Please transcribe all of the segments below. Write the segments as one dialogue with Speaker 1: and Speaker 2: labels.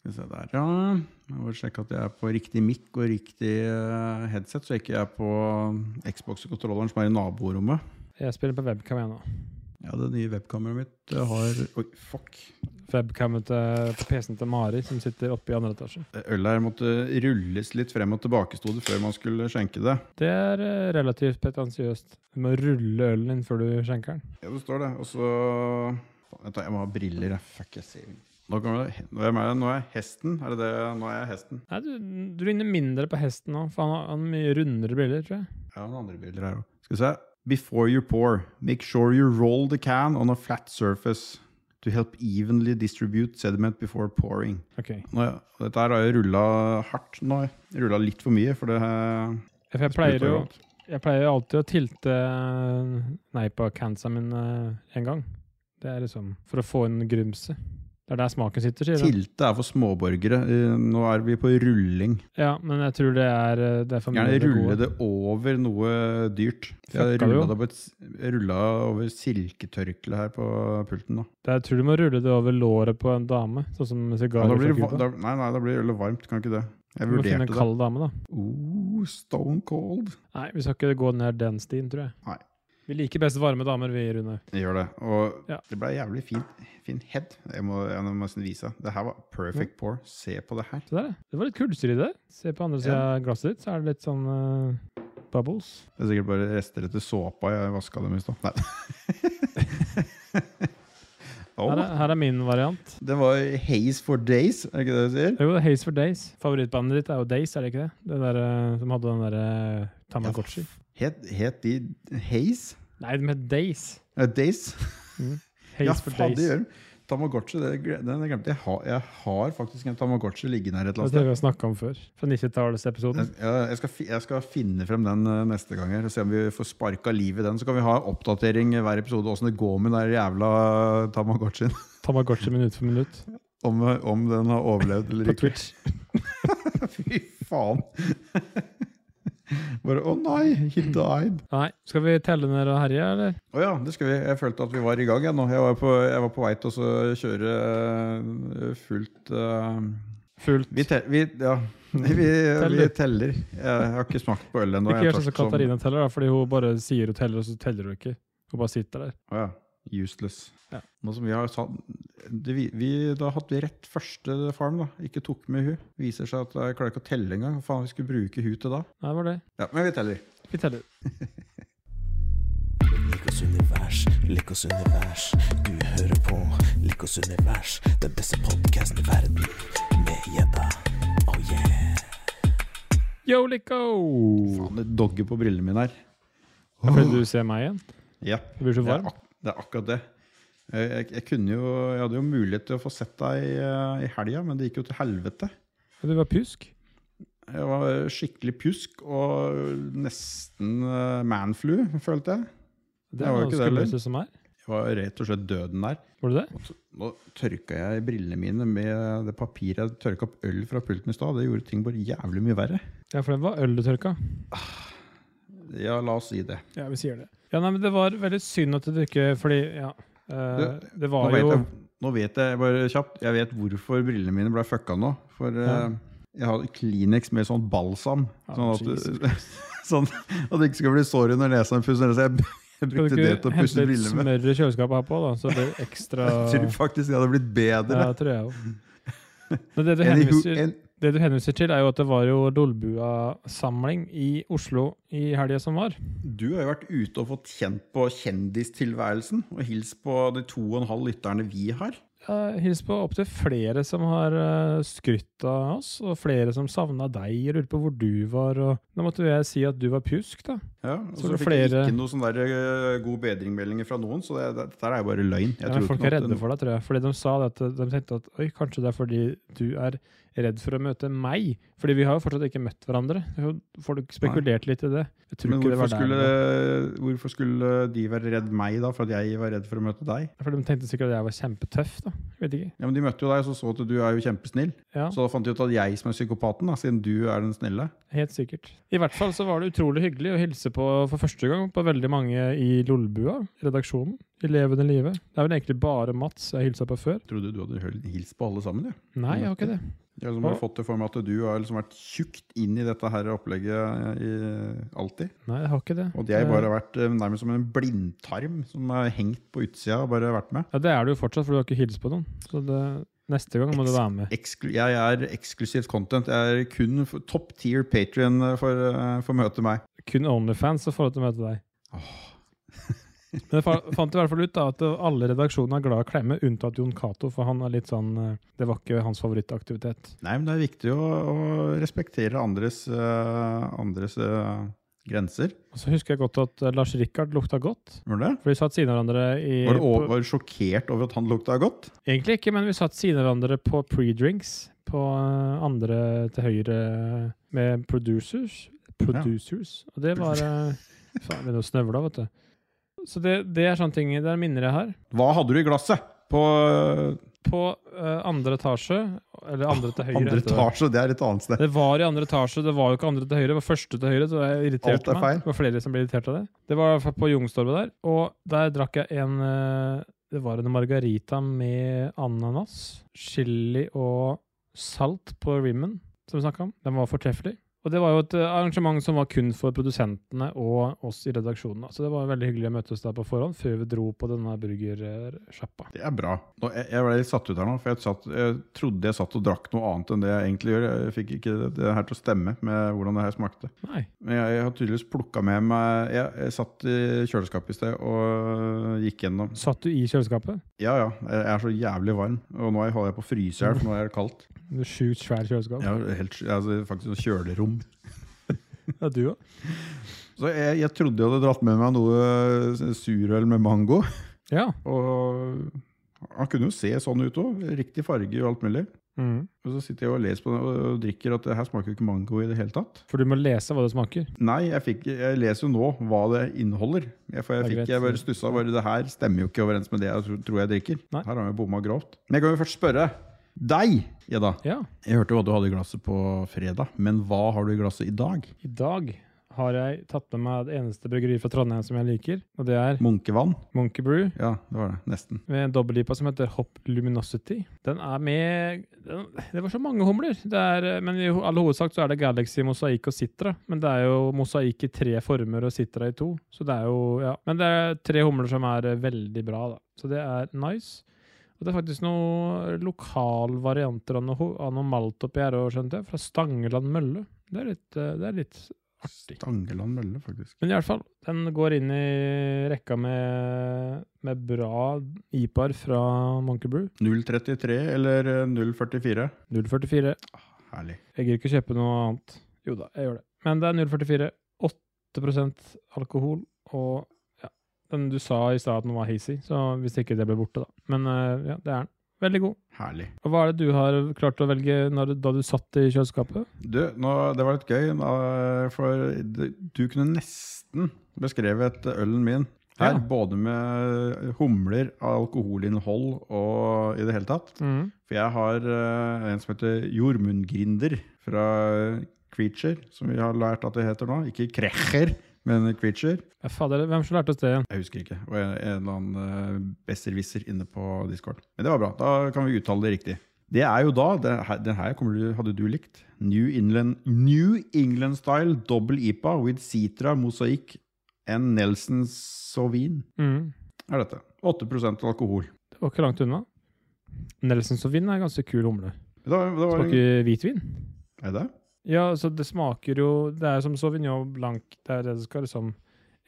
Speaker 1: Skal vi se der, ja. Jeg må sjekke at jeg er på riktig mikk og riktig eh, headset, så jeg ikke er på eh, Xbox-kontrolleren som er i naborommet.
Speaker 2: Jeg spiller på webcam igjen nå.
Speaker 1: Ja, det nye webkameraet mitt eh, har Oi, fuck.
Speaker 2: Webcamen til på PC-en til Mari, som sitter oppe i andre etasje.
Speaker 1: Ølet her måtte rulles litt frem og tilbake, sto det, før man skulle skjenke det.
Speaker 2: Det er eh, relativt pretensiøst. Du må rulle ølen din før du skjenker den.
Speaker 1: Ja, det står det. Og så Faen, Vent, da, jeg må ha briller. jeg. Fuck, jeg ser ikke. Nå kommer det Hvem er det? Nå er jeg hesten. Er det det? Nå er jeg hesten.
Speaker 2: Nei, du, du ligner mindre på hesten nå, for han har, han har mye rundere briller, tror jeg.
Speaker 1: Jeg har noen andre bilder her òg. Skal vi se. Before you pour, make sure you roll the can on a flat surface to help evenly distribute sediment before pouring.
Speaker 2: Ok.
Speaker 1: Nå, ja. Dette her har jeg rulla hardt nå. Rulla litt for mye, for det her-
Speaker 2: Ja, For jeg pleier jo jeg pleier jo alltid å tilte eh, Neipa-cansa min eh, en gang. Det er liksom for å få inn grumset. Det er der smaken sitter, sier han.
Speaker 1: Tilte er for småborgere. Eh, Nå er vi på rulling.
Speaker 2: Ja, men jeg tror det er, eh, det er for mye
Speaker 1: Gjerne
Speaker 2: av det
Speaker 1: rulle
Speaker 2: gode.
Speaker 1: det over noe dyrt. Jeg
Speaker 2: Fucka du
Speaker 1: rulla
Speaker 2: jo?
Speaker 1: det på et s- jeg rulla over silketørkle her på pulten. Da.
Speaker 2: Det er- Jeg tror du må rulle det over låret på en dame, sånn som
Speaker 1: Ja, da
Speaker 2: sigarer
Speaker 1: blir det,
Speaker 2: fra
Speaker 1: va-
Speaker 2: Cuba.
Speaker 1: da, nei, nei, da blir det varmt. Kan ikke det. Jeg
Speaker 2: Du må finne
Speaker 1: vurderte
Speaker 2: en
Speaker 1: det.
Speaker 2: kald dame, da.
Speaker 1: Oh, stone cold.
Speaker 2: Nei, vi skal ikke gå ned den stien, tror jeg.
Speaker 1: Nei.
Speaker 2: Vi liker best varme damer, vi, Rune.
Speaker 1: Jeg gjør det. Og
Speaker 2: Ja.
Speaker 1: det ble jævlig fint, fin head. Jeg må, jeg må nesten vise. Det her var perfect pour. Se på det her.
Speaker 2: Se der, ja. Det var litt kulser i det. Se på andre sida av glasset ditt, så er det litt sånn eh, bubbles.
Speaker 1: Det er sikkert bare rester etter såpa jeg vaska dem i stad. Nei.
Speaker 2: Her
Speaker 1: Åh,
Speaker 2: er, her er min variant.
Speaker 1: det var haze for days, er det ikke det du sier?
Speaker 2: Jo, det er Haze for Days. Favorittbandet ditt er jo Days, er det ikke det? Det der eh, som hadde den derre Tamagotchi.
Speaker 1: Het, het de haze?
Speaker 2: Nei, de het Days.
Speaker 1: Eh, Days?
Speaker 2: Haze
Speaker 1: ja,
Speaker 2: for
Speaker 1: faen, det
Speaker 2: Days.
Speaker 1: gjør de. Tamagotchi, det, gle- den jeg glemte jeg. Har, jeg har faktisk en Tamagotchi liggende her et
Speaker 2: Det
Speaker 1: eller
Speaker 2: tror
Speaker 1: annet
Speaker 2: jeg
Speaker 1: sted.
Speaker 2: vi har snakka om før. Fra 90-tallsepisoden.
Speaker 1: Jeg, ja, jeg, skal, fi- jeg skal finne frem den eh, neste gang her og se om vi får sparka liv i den. Så kan vi ha oppdatering i hver episode åssen det går med den der jævla Tamagotchien.
Speaker 2: Tamagotchi minutt for minutt.
Speaker 1: Om, om den har overlevd eller
Speaker 2: På
Speaker 1: ikke.
Speaker 2: Twitch.
Speaker 1: Fy faen! Bare Å nei, he died.
Speaker 2: Nei, skal vi telle ned og herje, eller?
Speaker 1: Å ja, det skal vi. Jeg følte at vi var i gang jeg, nå. Jeg var på, jeg var på vei til å så kjøre eh, fullt eh,
Speaker 2: Fullt.
Speaker 1: Vi, tel vi, ja. vi, vi
Speaker 2: Teller.
Speaker 1: teller. Jeg har ikke smakt på øl ennå.
Speaker 2: Ikke
Speaker 1: jeg
Speaker 2: gjør sånn som
Speaker 1: tar som-
Speaker 2: Katarina teller, da, fordi hun bare sier hun teller, og så teller hun ikke. Hun bare sitter der.
Speaker 1: Å ja. Useless.
Speaker 2: Ja.
Speaker 1: Nå som vi har sa- det, vi, vi, Da hadde vi rett første farm, da. Ikke tok med hun. Viser seg at jeg klarer ikke å telle engang. Hva faen vi skulle bruke hun til da?
Speaker 2: Nei, det var det.
Speaker 1: Ja, Men vi teller.
Speaker 2: Vi teller.
Speaker 3: Lik oss univers, lik oss univers. Du hører på Lik oss univers, den beste podkasten i verden. Med gjedda. Oh yeah.
Speaker 2: Yo, Lico!
Speaker 1: Faen, det dogger på brillene mine her.
Speaker 2: Det er fordi du ser meg igjen.
Speaker 1: Ja,
Speaker 2: Du blir så
Speaker 1: det er,
Speaker 2: varm.
Speaker 1: ak det er akkurat det. Jeg, jeg, jeg kunne jo, jeg hadde jo mulighet til å få sett deg eh, i helga, men det gikk jo til helvete.
Speaker 2: Og du var pjusk.
Speaker 1: Jeg var skikkelig pjusk og nesten eh, manflu, følte jeg.
Speaker 2: Det
Speaker 1: Jeg var jo
Speaker 2: er noe
Speaker 1: ikke det, eller?
Speaker 2: skumleste som er.
Speaker 1: Jeg var rett og slett døden der.
Speaker 2: Var du det?
Speaker 1: Og så- Nå tørka jeg brillene mine med det papiret jeg tørka opp øl fra pulten i stad. Det gjorde ting bare jævlig mye verre.
Speaker 2: Ja, for det var øl du tørka.
Speaker 1: Ja, la oss si det.
Speaker 2: Ja, vi sier det. Ja, nei, men det var veldig synd at du ikke Fordi, ja eh, Det
Speaker 1: Nå
Speaker 2: var
Speaker 1: vet,
Speaker 2: jo
Speaker 1: jeg, nå vet jeg bare kjapt Jeg vet hvorfor brillene mine ble fucka nå. For eh, jeg hadde Kleenex med sånn balsam.
Speaker 2: Ja,
Speaker 1: Sånn at,
Speaker 2: Jesus
Speaker 1: du, sånn at det ikke skal bli sår under nesa når jeg pusser nesa. Jeg b- Jeg
Speaker 2: Skal
Speaker 1: brukte
Speaker 2: du
Speaker 1: det til
Speaker 2: ikke
Speaker 1: å pusse
Speaker 2: hente litt
Speaker 1: brillene med.
Speaker 2: smør i kjøleskapet her på, da? Så det blir ekstra
Speaker 1: Jeg tror faktisk det hadde blitt bedre.
Speaker 2: Ja, tror jeg òg. Men det du
Speaker 1: En i hu-
Speaker 2: henviser
Speaker 1: en,
Speaker 2: Det du henviser til, er jo at det var jo Dolbua-samling i Oslo i helga som var.
Speaker 1: du har jo vært ute og fått kjent på kjendistilværelsen, og hils på de to og en halv lytterne vi har.
Speaker 2: Jeg hils på opptil flere som har eh, skrytt av oss, og flere som savna deg og lurte på hvor du var. Og da måtte jo jeg si at du var pjusk, da.
Speaker 1: Ja, og
Speaker 2: Så
Speaker 1: så
Speaker 2: det
Speaker 1: fikk jeg
Speaker 2: flere-
Speaker 1: ikke noe sånn der eh, god bedring-meldinger fra noen, så det, det, dette her er jo bare løgn. Jeg
Speaker 2: Ja,
Speaker 1: tror
Speaker 2: men
Speaker 1: ikke
Speaker 2: folk
Speaker 1: noe
Speaker 2: er
Speaker 1: at
Speaker 2: redde
Speaker 1: den-
Speaker 2: for deg, tror jeg. Fordi de sa det at de tenkte at oi, kanskje det er fordi du er redd for å møte meg. Fordi vi har jo fortsatt ikke møtt hverandre. Så Folk spekulerte litt i det. Jeg tror
Speaker 1: Men
Speaker 2: ikke det
Speaker 1: hvorfor
Speaker 2: var der.
Speaker 1: skulle,
Speaker 2: det
Speaker 1: hvorfor skulle de være redd meg da, for at jeg var redd for å møte deg?
Speaker 2: var. For de tenkte sikkert at jeg var kjempetøff, da. Jeg vet ikke.
Speaker 1: Ja, men De møtte jo deg og så så at du er jo kjempesnill.
Speaker 2: Ja.
Speaker 1: Så da fant de ut at jeg som er psykopaten, da, siden du er den snille.
Speaker 2: Helt sikkert. I hvert fall så var det utrolig hyggelig å hilse på for første gang på veldig mange i Lolbua, redaksjonen, i Levende Live. Det er vel egentlig bare Mats jeg hilsa på før.
Speaker 1: Trodde du hadde høl- hilst på alle sammen, jeg.
Speaker 2: Nei, jeg har ikke det.
Speaker 1: Jeg har liksom bare
Speaker 2: Ja.
Speaker 1: fått det for meg at du har liksom vært tjukt inn i dette her opplegget eh, i, alltid.
Speaker 2: Nei, jeg har ikke det.
Speaker 1: Og at jeg bare har vært eh, nærmest som en blindtarm som har hengt på utsida og bare vært med.
Speaker 2: Ja, det er du jo fortsatt, for du har ikke hilst på noen. Så det, neste gang må du være med.
Speaker 1: Eksklu jeg er eksklusivt content. Jeg er kun for- top tier patrion for, eh, for møte meg.
Speaker 2: Kun Onlyfans har forhold til å møte deg. Men jeg fa- fant i hvert fall ut da at alle redaksjoner er glad i å klemme, unntatt Jon Cato, for han er litt sånn eh, Det var ikke hans favorittaktivitet.
Speaker 1: Nei, men det er viktig å, å respektere andres, eh, andres eh, grenser.
Speaker 2: Og så husker jeg godt at eh, Lars Rikard lukta godt.
Speaker 1: Var det?
Speaker 2: For vi satt siden av hverandre i
Speaker 1: Var du over, var du sjokkert over at han lukta godt?
Speaker 2: på, Egentlig ikke, men vi satt siden av hverandre på pre-drinks på eh, andre til høyre med producers. Producers. Og det var eh, Faen, vi snøvla, vet du. Så det, det er sånne ting. Det er minner jeg har.
Speaker 1: Hva hadde du i glasset? På
Speaker 2: På eh, andre etasje, eller andre til høyre.
Speaker 1: andre
Speaker 2: heter det.
Speaker 1: etasje, det er et annet sted.
Speaker 2: Det var i andre etasje, det var jo ikke andre til høyre, det var første til høyre. Så jeg
Speaker 1: Alt
Speaker 2: irriterte
Speaker 1: er feil.
Speaker 2: meg. Det var flere som ble irritert av det. Det var i hvert fall på Jungstorget der, og der drakk jeg en eh, Det var en margarita med ananas, chili og salt på rimmen, som vi snakka om. Den var fortreffelig. Og det var jo et eh, arrangement som var kun for produsentene og oss i redaksjonen. da. Så det var veldig hyggelig å møtes der på forhånd, før vi dro på denne burgersjappa.
Speaker 1: Det er bra. Nå, jeg, jeg ble litt satt ut her nå, for jeg, satt, jeg trodde jeg satt og drakk noe annet enn det jeg egentlig gjør. Jeg fikk ikke det, det her til å stemme med hvordan det her smakte.
Speaker 2: Nei.
Speaker 1: Men jeg, jeg har tydeligvis plukka med meg jeg, jeg satt i kjøleskapet i sted og gikk gjennom.
Speaker 2: Satt du i kjøleskapet?
Speaker 1: Ja ja, jeg er så jævlig varm. Og nå er jeg- holder jeg på å fryse i hjel, for nå er det kaldt.
Speaker 2: Du er Sjukt svær kjøleskap.
Speaker 1: Jeg har helt, altså, faktisk noe kjølerom.
Speaker 2: Ja, du òg.
Speaker 1: Så jeg, jeg trodde jeg hadde dratt med meg noe surøl med mango.
Speaker 2: Ja.
Speaker 1: Og han kunne jo se sånn ut òg. Riktig farge og alt mulig.
Speaker 2: Mm.
Speaker 1: Og så sitter jeg og leser på den og og drikker at det her smaker jo ikke mango i det hele tatt.
Speaker 2: For du må lese hva det smaker.
Speaker 1: Nei, jeg, fikk, jeg leser jo nå hva det inneholder. Jeg, for jeg,
Speaker 2: Det er
Speaker 1: fikk,
Speaker 2: greit.
Speaker 1: jeg bare stussa bare det her stemmer jo ikke overens med det jeg tro, tror jeg drikker.
Speaker 2: Nei.
Speaker 1: Her har jeg bomma grovt. Men jeg kan jo først spørre deg, Jedda.
Speaker 2: Ja.
Speaker 1: Jeg hørte hva du hadde i glasset på fredag, men hva har du i glasset i dag?
Speaker 2: I dag har jeg tatt med meg det eneste bryggeriet fra Trondheim som jeg liker, og det er
Speaker 1: Munkevann?
Speaker 2: Monkey Brew
Speaker 1: Ja, det var det. Nesten.
Speaker 2: med en dobbel-IPA som heter Hop Luminosity. Den er med den, Det var så mange humler! Det er, eh, men i ho- all hovedsak så er det Galaxy, Mosaikk og Sitra. Men det er jo Mosaikk i tre former og Sitra i to. Så det er jo Ja. Men det er tre humler som er eh, veldig bra, da. Så det er nice. Og det er faktisk noen lokalvarianter av noe, ho- av noe malt oppi her òg, skjønte jeg. Fra Stangeland mølle. Det er litt, eh, det er litt artig.
Speaker 1: Stangeland mølle, faktisk.
Speaker 2: Men i hvert fall, den går inn i rekka med, med bra IPAR fra Monkey Brew.
Speaker 1: 033 eller eh, 044? Ah,
Speaker 2: 044.
Speaker 1: Herlig.
Speaker 2: Jeg gir ikke kjøpe noe annet. Jo da, jeg gjør det. Men det er 044. 8 alkohol. Og ja, den du sa i stad at den var hazy, så hvis ikke det ble borte, da. Men eh, ja, det er den. Veldig god.
Speaker 1: Herlig.
Speaker 2: Og hva er det du har klart å velge når, du- da du satt i kjøleskapet?
Speaker 1: Du, nå, det var litt gøy, da, for det- du kunne nesten beskrevet ølen min her,
Speaker 2: Ja.
Speaker 1: både med humler, alkoholinnhold og i det hele tatt. For jeg har eh, en som heter jordmundgrinder fra Creature, som vi har lært at det heter nå. Ikke Krecher, men Creature.
Speaker 2: Ja, fader, hvem som lærte oss det igjen?
Speaker 1: Jeg husker ikke. Og en, en eller annen eh, besserwisser inne på Discord. Men det var bra. Da kan vi uttale det riktig. Det er jo da det her, Den her kommer du, hadde du likt. New England, New England Style Double IPA with Citra Mosaic and Nelson Sauvin
Speaker 2: Mm.
Speaker 1: er dette. 8 alkohol.
Speaker 2: Det var ikke langt unna. Nelson Sauvin er en ganske kul humle.
Speaker 1: Det var, det var en,
Speaker 2: Smaker hvitvin?
Speaker 1: er det?
Speaker 2: Ja, så det smaker jo Det er som Sauvignon Blanc. Det er det det skal liksom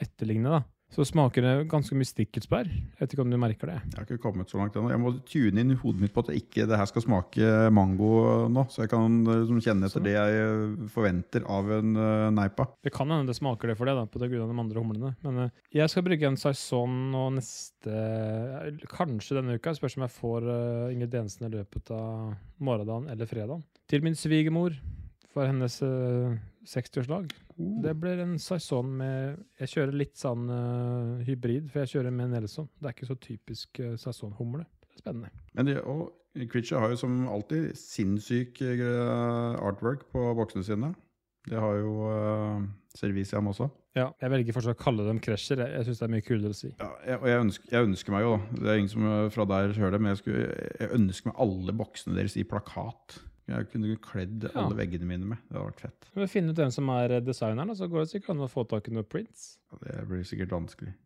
Speaker 2: etterligne, da. Så smaker det ganske mye stikkelsbær. Jeg vet ikke om du merker det.
Speaker 1: Jeg har ikke kommet så langt ennå. Jeg må tune inn i hodet mitt på at det ikke det her skal smake mango nå. Så jeg kan eh, liksom kjenne etter
Speaker 2: Sånn.
Speaker 1: det jeg eh, forventer av en eh, neipa.
Speaker 2: Det kan hende det smaker det for det, da, på grunn av de andre humlene. Men eh, jeg skal brygge en saison nå neste eh, Kanskje denne uka. Spørs om jeg får eh, ingrediensene i løpet av morgendagen eller fredagen. Til min svigermor for hennes eh, 60-årslag. Det blir en saison med Jeg kjører litt sånn eh, hybrid, for jeg kjører med Nelson. Det er ikke så typisk uh, saisonhumle. Det er Spennende.
Speaker 1: Men de, og Creature har jo som alltid sinnssyk eh, artwork på boksene sine. Det har jo uh, Serviciam også.
Speaker 2: Ja, jeg velger fortsatt å kalle dem krasjer. Jeg, jeg syns det er mye kulere å si.
Speaker 1: Ja, jeg, og jeg ønsker, jeg ønsker meg jo, da Det er ingen som eh, fra der hører det, men jeg, skulle, jeg ønsker meg alle boksene deres i plakat. Jeg kunne kledd
Speaker 2: Ja.
Speaker 1: alle veggene mine med. Det hadde vært fett.
Speaker 2: Vi må finne ut hvem som er eh, designeren, og så går det sikkert an å få tak i noen prints.
Speaker 1: Ja, Det blir sikkert vanskelig.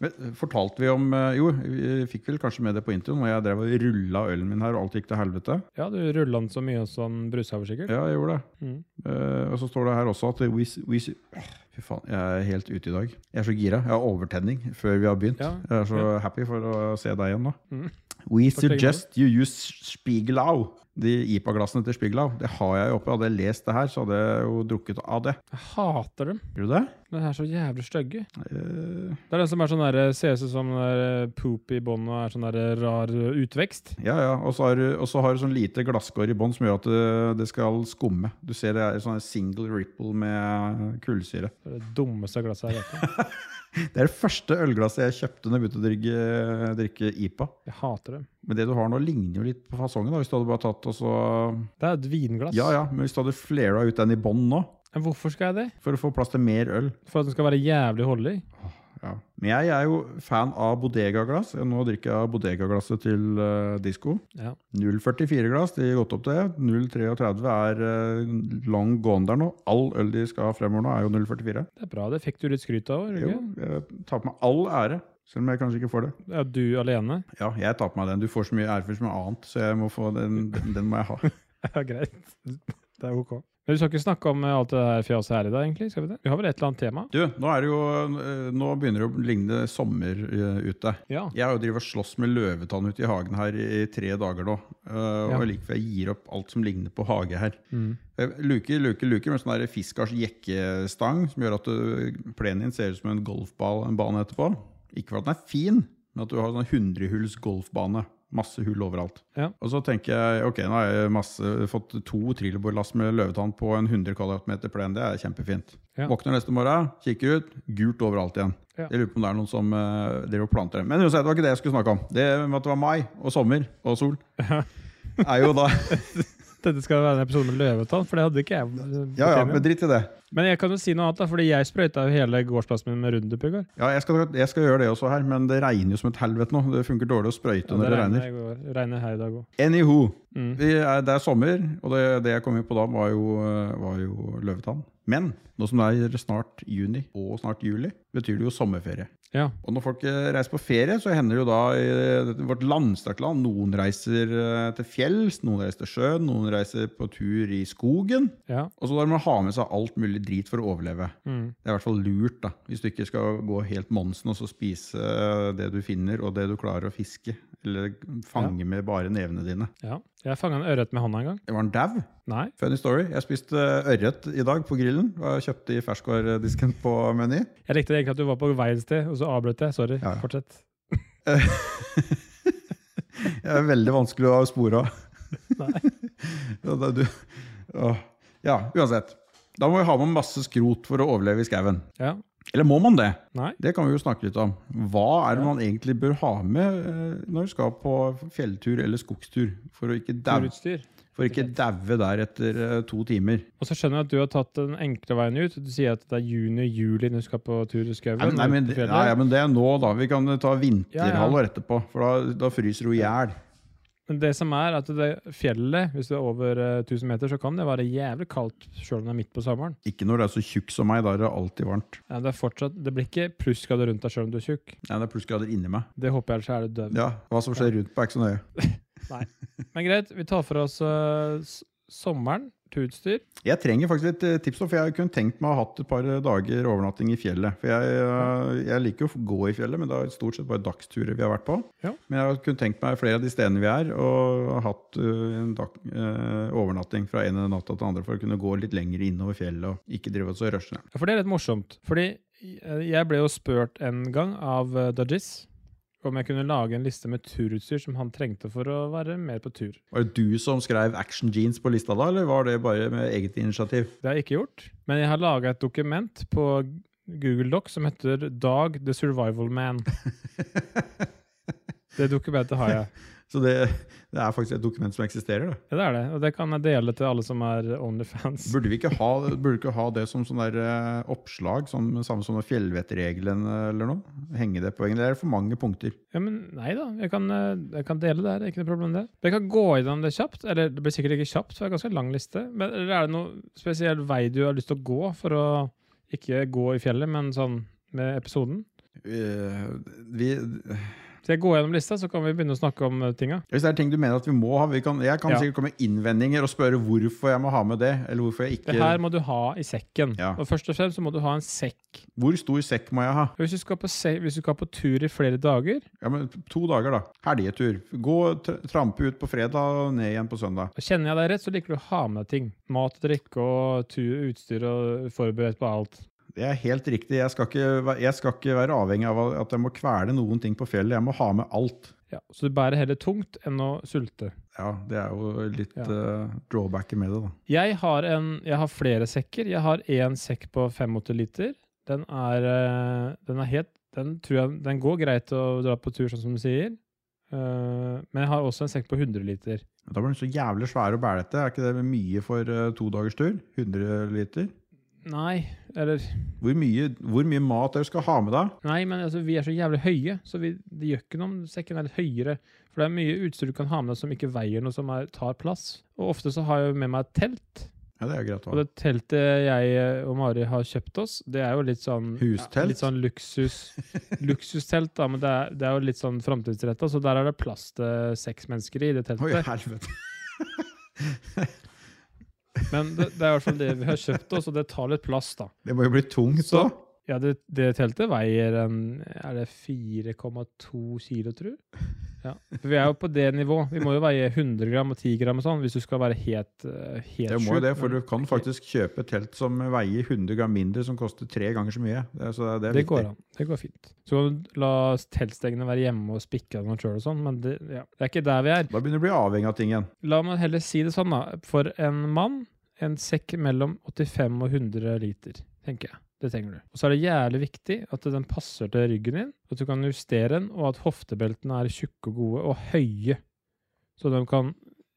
Speaker 1: Men eh, fortalte vi om eh, Jo, vi fikk vel kanskje med det på introen, hvor jeg drev og rulla ølen min her, og alt gikk til helvete.
Speaker 2: Ja, du ruller den så mye som brushaver, sikkert.
Speaker 1: Ja, jeg gjorde det.
Speaker 2: Mm.
Speaker 1: Eh, og så står det her også at we, we, Åh, Fy faen, jeg er helt ute i dag. Jeg er så gira. Jeg har overtenning før vi har begynt.
Speaker 2: Ja,
Speaker 1: Jeg er så happy for å se deg igjen nå.
Speaker 2: Mm.
Speaker 1: We
Speaker 2: Fortell meg.
Speaker 1: suggest you use Spiegelau. De IPA-glassene til Spiegelau. Det har jeg jo oppe. Hadde jeg lest det her, så hadde jeg jo drukket av det.
Speaker 2: Jeg hater dem.
Speaker 1: Gjør du det?
Speaker 2: De er så jævlig stygge.
Speaker 1: Eh,
Speaker 2: Det er den som er sånn der, ser ut som sånn der, eh, poop i bånn og er sånn der eh, rar eh, utvekst.
Speaker 1: ja, ja. Og så har du og så har du sånn lite glasskår i bånn som gjør at det, det skal skumme. Du ser det er sånn single ripple med kullsyre.
Speaker 2: Det er det dummeste glasset jeg vet om.
Speaker 1: Det er det første ølglasset jeg kjøpte når jeg begynte å drikke, drikke IPA.
Speaker 2: Jeg hater dem.
Speaker 1: Men det du har nå, ligner jo litt på fasongen. da, Hvis du hadde bare tatt og så
Speaker 2: Det er et vinglass.
Speaker 1: Ja, ja, men hvis du hadde flera ut den i bånn nå,
Speaker 2: Men hvorfor skal jeg det?
Speaker 1: for å få plass til mer øl
Speaker 2: For at den skal være jævlig holdig?
Speaker 1: ja. Men jeg er jo fan av bodegaglass. Nå drikker jeg bodegaglasset til uh, disko.
Speaker 2: Ja.
Speaker 1: 0,44-glass, de har gått opp til. 0,33 er uh, long gone der nå. All øl de skal ha fremover nå, er jo 0,44.
Speaker 2: Det er bra. Det fikk du litt skryt av.
Speaker 1: Jo,
Speaker 2: Rugge.
Speaker 1: jeg tar på meg all ære. Selv om jeg kanskje ikke får det.
Speaker 2: Ja, du alene.
Speaker 1: Ja, jeg tar på meg den. Du får så mye ære for så mye annet, så jeg må få den, den, den må jeg ha.
Speaker 2: Ja, greit. Det er ok. Men vi skal ikke snakke om eh, alt det her fjaset her i dag, egentlig? skal Vi det? Vi har vel et eller annet tema?
Speaker 1: Du, nå, er det jo, eh, nå begynner det å ligne sommer eh, ute.
Speaker 2: Ja.
Speaker 1: Jeg har jo drevet og slåss med løvetann ute i hagen her i tre dager nå. eh,
Speaker 2: Ja.
Speaker 1: Og likevel jeg gir opp alt som ligner på hage her.
Speaker 2: Mm.
Speaker 1: Jeg Luker, luker, luker med sånn der fiskars jekkestang som gjør at du- plenen din ser ut som en golfball en bane etterpå. Ikke for at den er fin, men at du har sånn 100-hulls golfbane. Masse hull overalt.
Speaker 2: Ja.
Speaker 1: Og så tenker jeg ok, nå har jeg masse, fått to trillebårlass med løvetann på en 100 kvadratmeter plen. Det er kjempefint.
Speaker 2: Ja.
Speaker 1: Våkner neste morgen, kikker ut, gult overalt igjen.
Speaker 2: Ja.
Speaker 1: Jeg lurer på om det er noen som eh, driver og planter det. Men uansett, det var ikke det jeg skulle snakke om. Det med at det var mai og sommer og sol, er jo da
Speaker 2: Dette skal være en episode med løvetann, for det hadde ikke jeg. eh,
Speaker 1: Ja ja,
Speaker 2: bestemt.
Speaker 1: men dritt i det.
Speaker 2: Men jeg kan jo si noe annet, da, fordi jeg sprøyta jo hele gårdsplassen min med Rundup i går.
Speaker 1: Ja, jeg skal, jeg skal gjøre det også her, men det regner jo som et helvete nå. Det funker dårlig å sprøyte når det regner.
Speaker 2: i går. regner her i dag òg.
Speaker 1: Anywho,
Speaker 2: Mm.
Speaker 1: vi er, det er sommer, og det, det jeg kom inn på da, var jo, eh, var jo løvetann. Men nå som det er snart juni og snart juli, betyr det jo sommerferie.
Speaker 2: Ja.
Speaker 1: Og når folk eh, reiser på ferie, så hender det jo da i dette vårt landstrakte land Noen reiser eh, til fjells, noen reiser til sjøen, noen reiser på tur i skogen.
Speaker 2: ja.
Speaker 1: Og så må man ha med seg alt mulig drit for å overleve.
Speaker 2: Mm.
Speaker 1: Det er i hvert fall lurt, da. Hvis du ikke skal gå helt monsen og så spise eh, det du finner, og det du klarer å fiske. Eller fange med bare nevene dine.
Speaker 2: ja. Jeg fanga en ørret med hånda en gang.
Speaker 1: Jeg var en dau.
Speaker 2: Nei.
Speaker 1: Funny story. Jeg spiste eh, ørret i dag på grillen. Jeg kjøpte i ferskvaredisken på Meny.
Speaker 2: Jeg likte egentlig at du var på vei et sted, og så avbrøt jeg. Sorry.
Speaker 1: Ja, ja.
Speaker 2: Fortsett.
Speaker 1: Det er veldig vanskelig å ha spor av.
Speaker 2: Nei.
Speaker 1: Ja, da du- Åh. Ja, uansett. Da må vi ha med masse skrot for å overleve i skauen.
Speaker 2: Ja.
Speaker 1: Eller må man det?
Speaker 2: Nei.
Speaker 1: Det kan vi jo snakke litt om. Hva er det man egentlig bør ha med eh, når du skal på fjelltur eller skogstur, for å ikke dau-
Speaker 2: Turutstyr.
Speaker 1: for ikke daue der etter eh, to timer?
Speaker 2: Og så skjønner jeg at du har tatt den enkle veien ut. Du sier at det er juni og juli når du skal på tur i skauen.
Speaker 1: Nei, men- nei, men,
Speaker 2: ut på fjellet.
Speaker 1: nei, ja, men det er nå, da. Vi kan eh, ta vinterhalvår etterpå, for da, da fryser du i hjel.
Speaker 2: Men det som er at det fjellet, hvis du er over eh, 1000 meter, så kan det være jævlig kaldt sjøl om det er midt på sommeren.
Speaker 1: Ikke når du er så tjukk som meg, da er det alltid varmt.
Speaker 2: Ja, det, er fortsatt, det blir ikke plussgrader rundt deg sjøl om du er tjukk.
Speaker 1: Nei, det er plussgrader inni meg.
Speaker 2: Det håper jeg, ellers er du døv.
Speaker 1: Ja, Hva som skjer rundt meg, er ikke så nøye.
Speaker 2: Men greit, vi tar for oss eh, s- sommeren, turutstyr.
Speaker 1: Jeg trenger faktisk litt eh, tips, nå, for jeg kunne tenkt meg å ha hatt et par eh, dager overnatting i fjellet. For jeg, eh, jeg liker jo å gå i fjellet, men det er stort sett bare dagsturer vi har vært på.
Speaker 2: Ja.
Speaker 1: Men jeg kunne tenkt meg flere av de stedene vi er, og ha hatt eh, en dag, eh, overnatting fra ene natta til andre for å kunne gå litt lenger innover fjellet og ikke drive oss og rushe ned.
Speaker 2: Ja, For det er litt morsomt. Fordi eh, jeg ble jo spurt en gang av eh, Dodges om jeg kunne lage en liste med turutstyr som han trengte for å være mer på tur.
Speaker 1: Var det du som skrev action jeans på lista da, eller var det bare med eget initiativ?
Speaker 2: Det har jeg ikke gjort, men jeg har laga et dokument på Google Doc som heter Dag the Survival Man. Det dokumentet har jeg.
Speaker 1: Så det, det er faktisk et dokument som eksisterer. Da.
Speaker 2: Ja, det er det. Og det kan jeg dele til alle som er Onlyfans.
Speaker 1: Burde vi ikke ha, burde ikke ha det som sånn der eh, oppslag, som, samme som fjellvettreglene eller noe? Henge det på veggen? Det er for mange punkter.
Speaker 2: Ja, men nei da. Jeg kan, eh, jeg kan dele det her. Det er ikke noe problem, det. Jeg kan gå gjennom det kjapt. Eller det blir sikkert ikke kjapt, for det er ganske lang liste. Men eller er det noe spesiell vei du har lyst til å gå for å ikke gå i fjellet, men sånn med episoden?
Speaker 1: Eh, vi,
Speaker 2: Så jeg går gjennom lista, så kan vi begynne å snakke om eh, tinga.
Speaker 1: hvis det er ting du mener at vi må ha vi kan, Jeg kan
Speaker 2: Ja.
Speaker 1: sikkert komme med innvendinger og spørre hvorfor jeg må ha med det. Eller hvorfor jeg
Speaker 2: Det
Speaker 1: ikke
Speaker 2: her må du ha i sekken.
Speaker 1: Ja.
Speaker 2: Og først og fremst så må du ha en sekk.
Speaker 1: Hvor stor sekk må jeg ha?
Speaker 2: Og Hvis du skal på, se hvis du skal på tur i flere dager,
Speaker 1: Ja, men To dager, da. Helgetur. Gå og tr- trampe ut på fredag og ned igjen på søndag.
Speaker 2: og kjenner jeg deg rett, så liker du å ha med deg ting. Mat, drikke og tur, utstyr og forberedt på alt.
Speaker 1: Det er helt riktig. Jeg skal ikke, væ- jeg skal ikke være avhengig av at jeg må kvele noen ting på fjellet. Jeg må ha med alt.
Speaker 2: Ja, så du bærer heller tungt enn å sulte.
Speaker 1: Ja, det er jo litt
Speaker 2: Ja.
Speaker 1: eh, drawbacket med det, da.
Speaker 2: Jeg har, en, jeg har flere sekker. Jeg har én sekk på 85 liter. Den er, eh, den er helt den, tror jeg, den går greit å dra på tur, sånn som du sier. Eh, men jeg har også en sekk på 100 liter.
Speaker 1: Men Da blir den så jævlig svær og bælete. Er ikke det mye for eh, to dagers tur? 100 liter?
Speaker 2: Nei, eller
Speaker 1: Hvor mye, hvor mye mat dere skal ha med deg?
Speaker 2: Nei, men altså, vi er så jævlig høye, så vi, det gjør ikke noe om sekken er litt høyere. For det er mye utstyr du kan ha med deg som ikke veier noe, som er, tar plass. Og ofte så har jeg jo med meg et telt.
Speaker 1: Ja, det er greit å ha.
Speaker 2: Og det teltet jeg og Mari har kjøpt oss, det er jo litt sånn
Speaker 1: Hustelt?
Speaker 2: Litt sånn luksus, luksustelt, da, men det er, det er jo litt sånn framtidsretta, så der er det plass til seks mennesker i det
Speaker 1: Oi,
Speaker 2: teltet.
Speaker 1: helvete.
Speaker 2: Men det, det er i hvert fall det vi har kjøpt oss, og det tar litt plass, da.
Speaker 1: Det må jo bli tungt, da.
Speaker 2: Så- Ja, det, det teltet veier en Er det 4,2 kilo, tror du? Ja. For vi er jo på det nivå. Vi må jo veie 100 gram og 10 gram og sånn hvis du skal være helt, eh, helt
Speaker 1: Det må jo
Speaker 2: sjuk.
Speaker 1: det, for du kan faktisk kjøpe et telt som veier 100 gram mindre, som koster tre ganger så mye. Det, så det, er
Speaker 2: Det
Speaker 1: viktig.
Speaker 2: går an. Det går fint. Så kan du la teltstengene være hjemme og spikke av noen sjøl og sånn, men det, ja. det er ikke der vi er.
Speaker 1: Da begynner du å bli avhengig av ting igjen.
Speaker 2: La meg heller si det sånn, da. For en mann, en sekk mellom 85 og 100 liter, tenker jeg. Det trenger du. Og så er det jævlig viktig at den passer til ryggen din, at du kan justere den, og at hoftebeltene er tjukke og gode og høye. Så de kan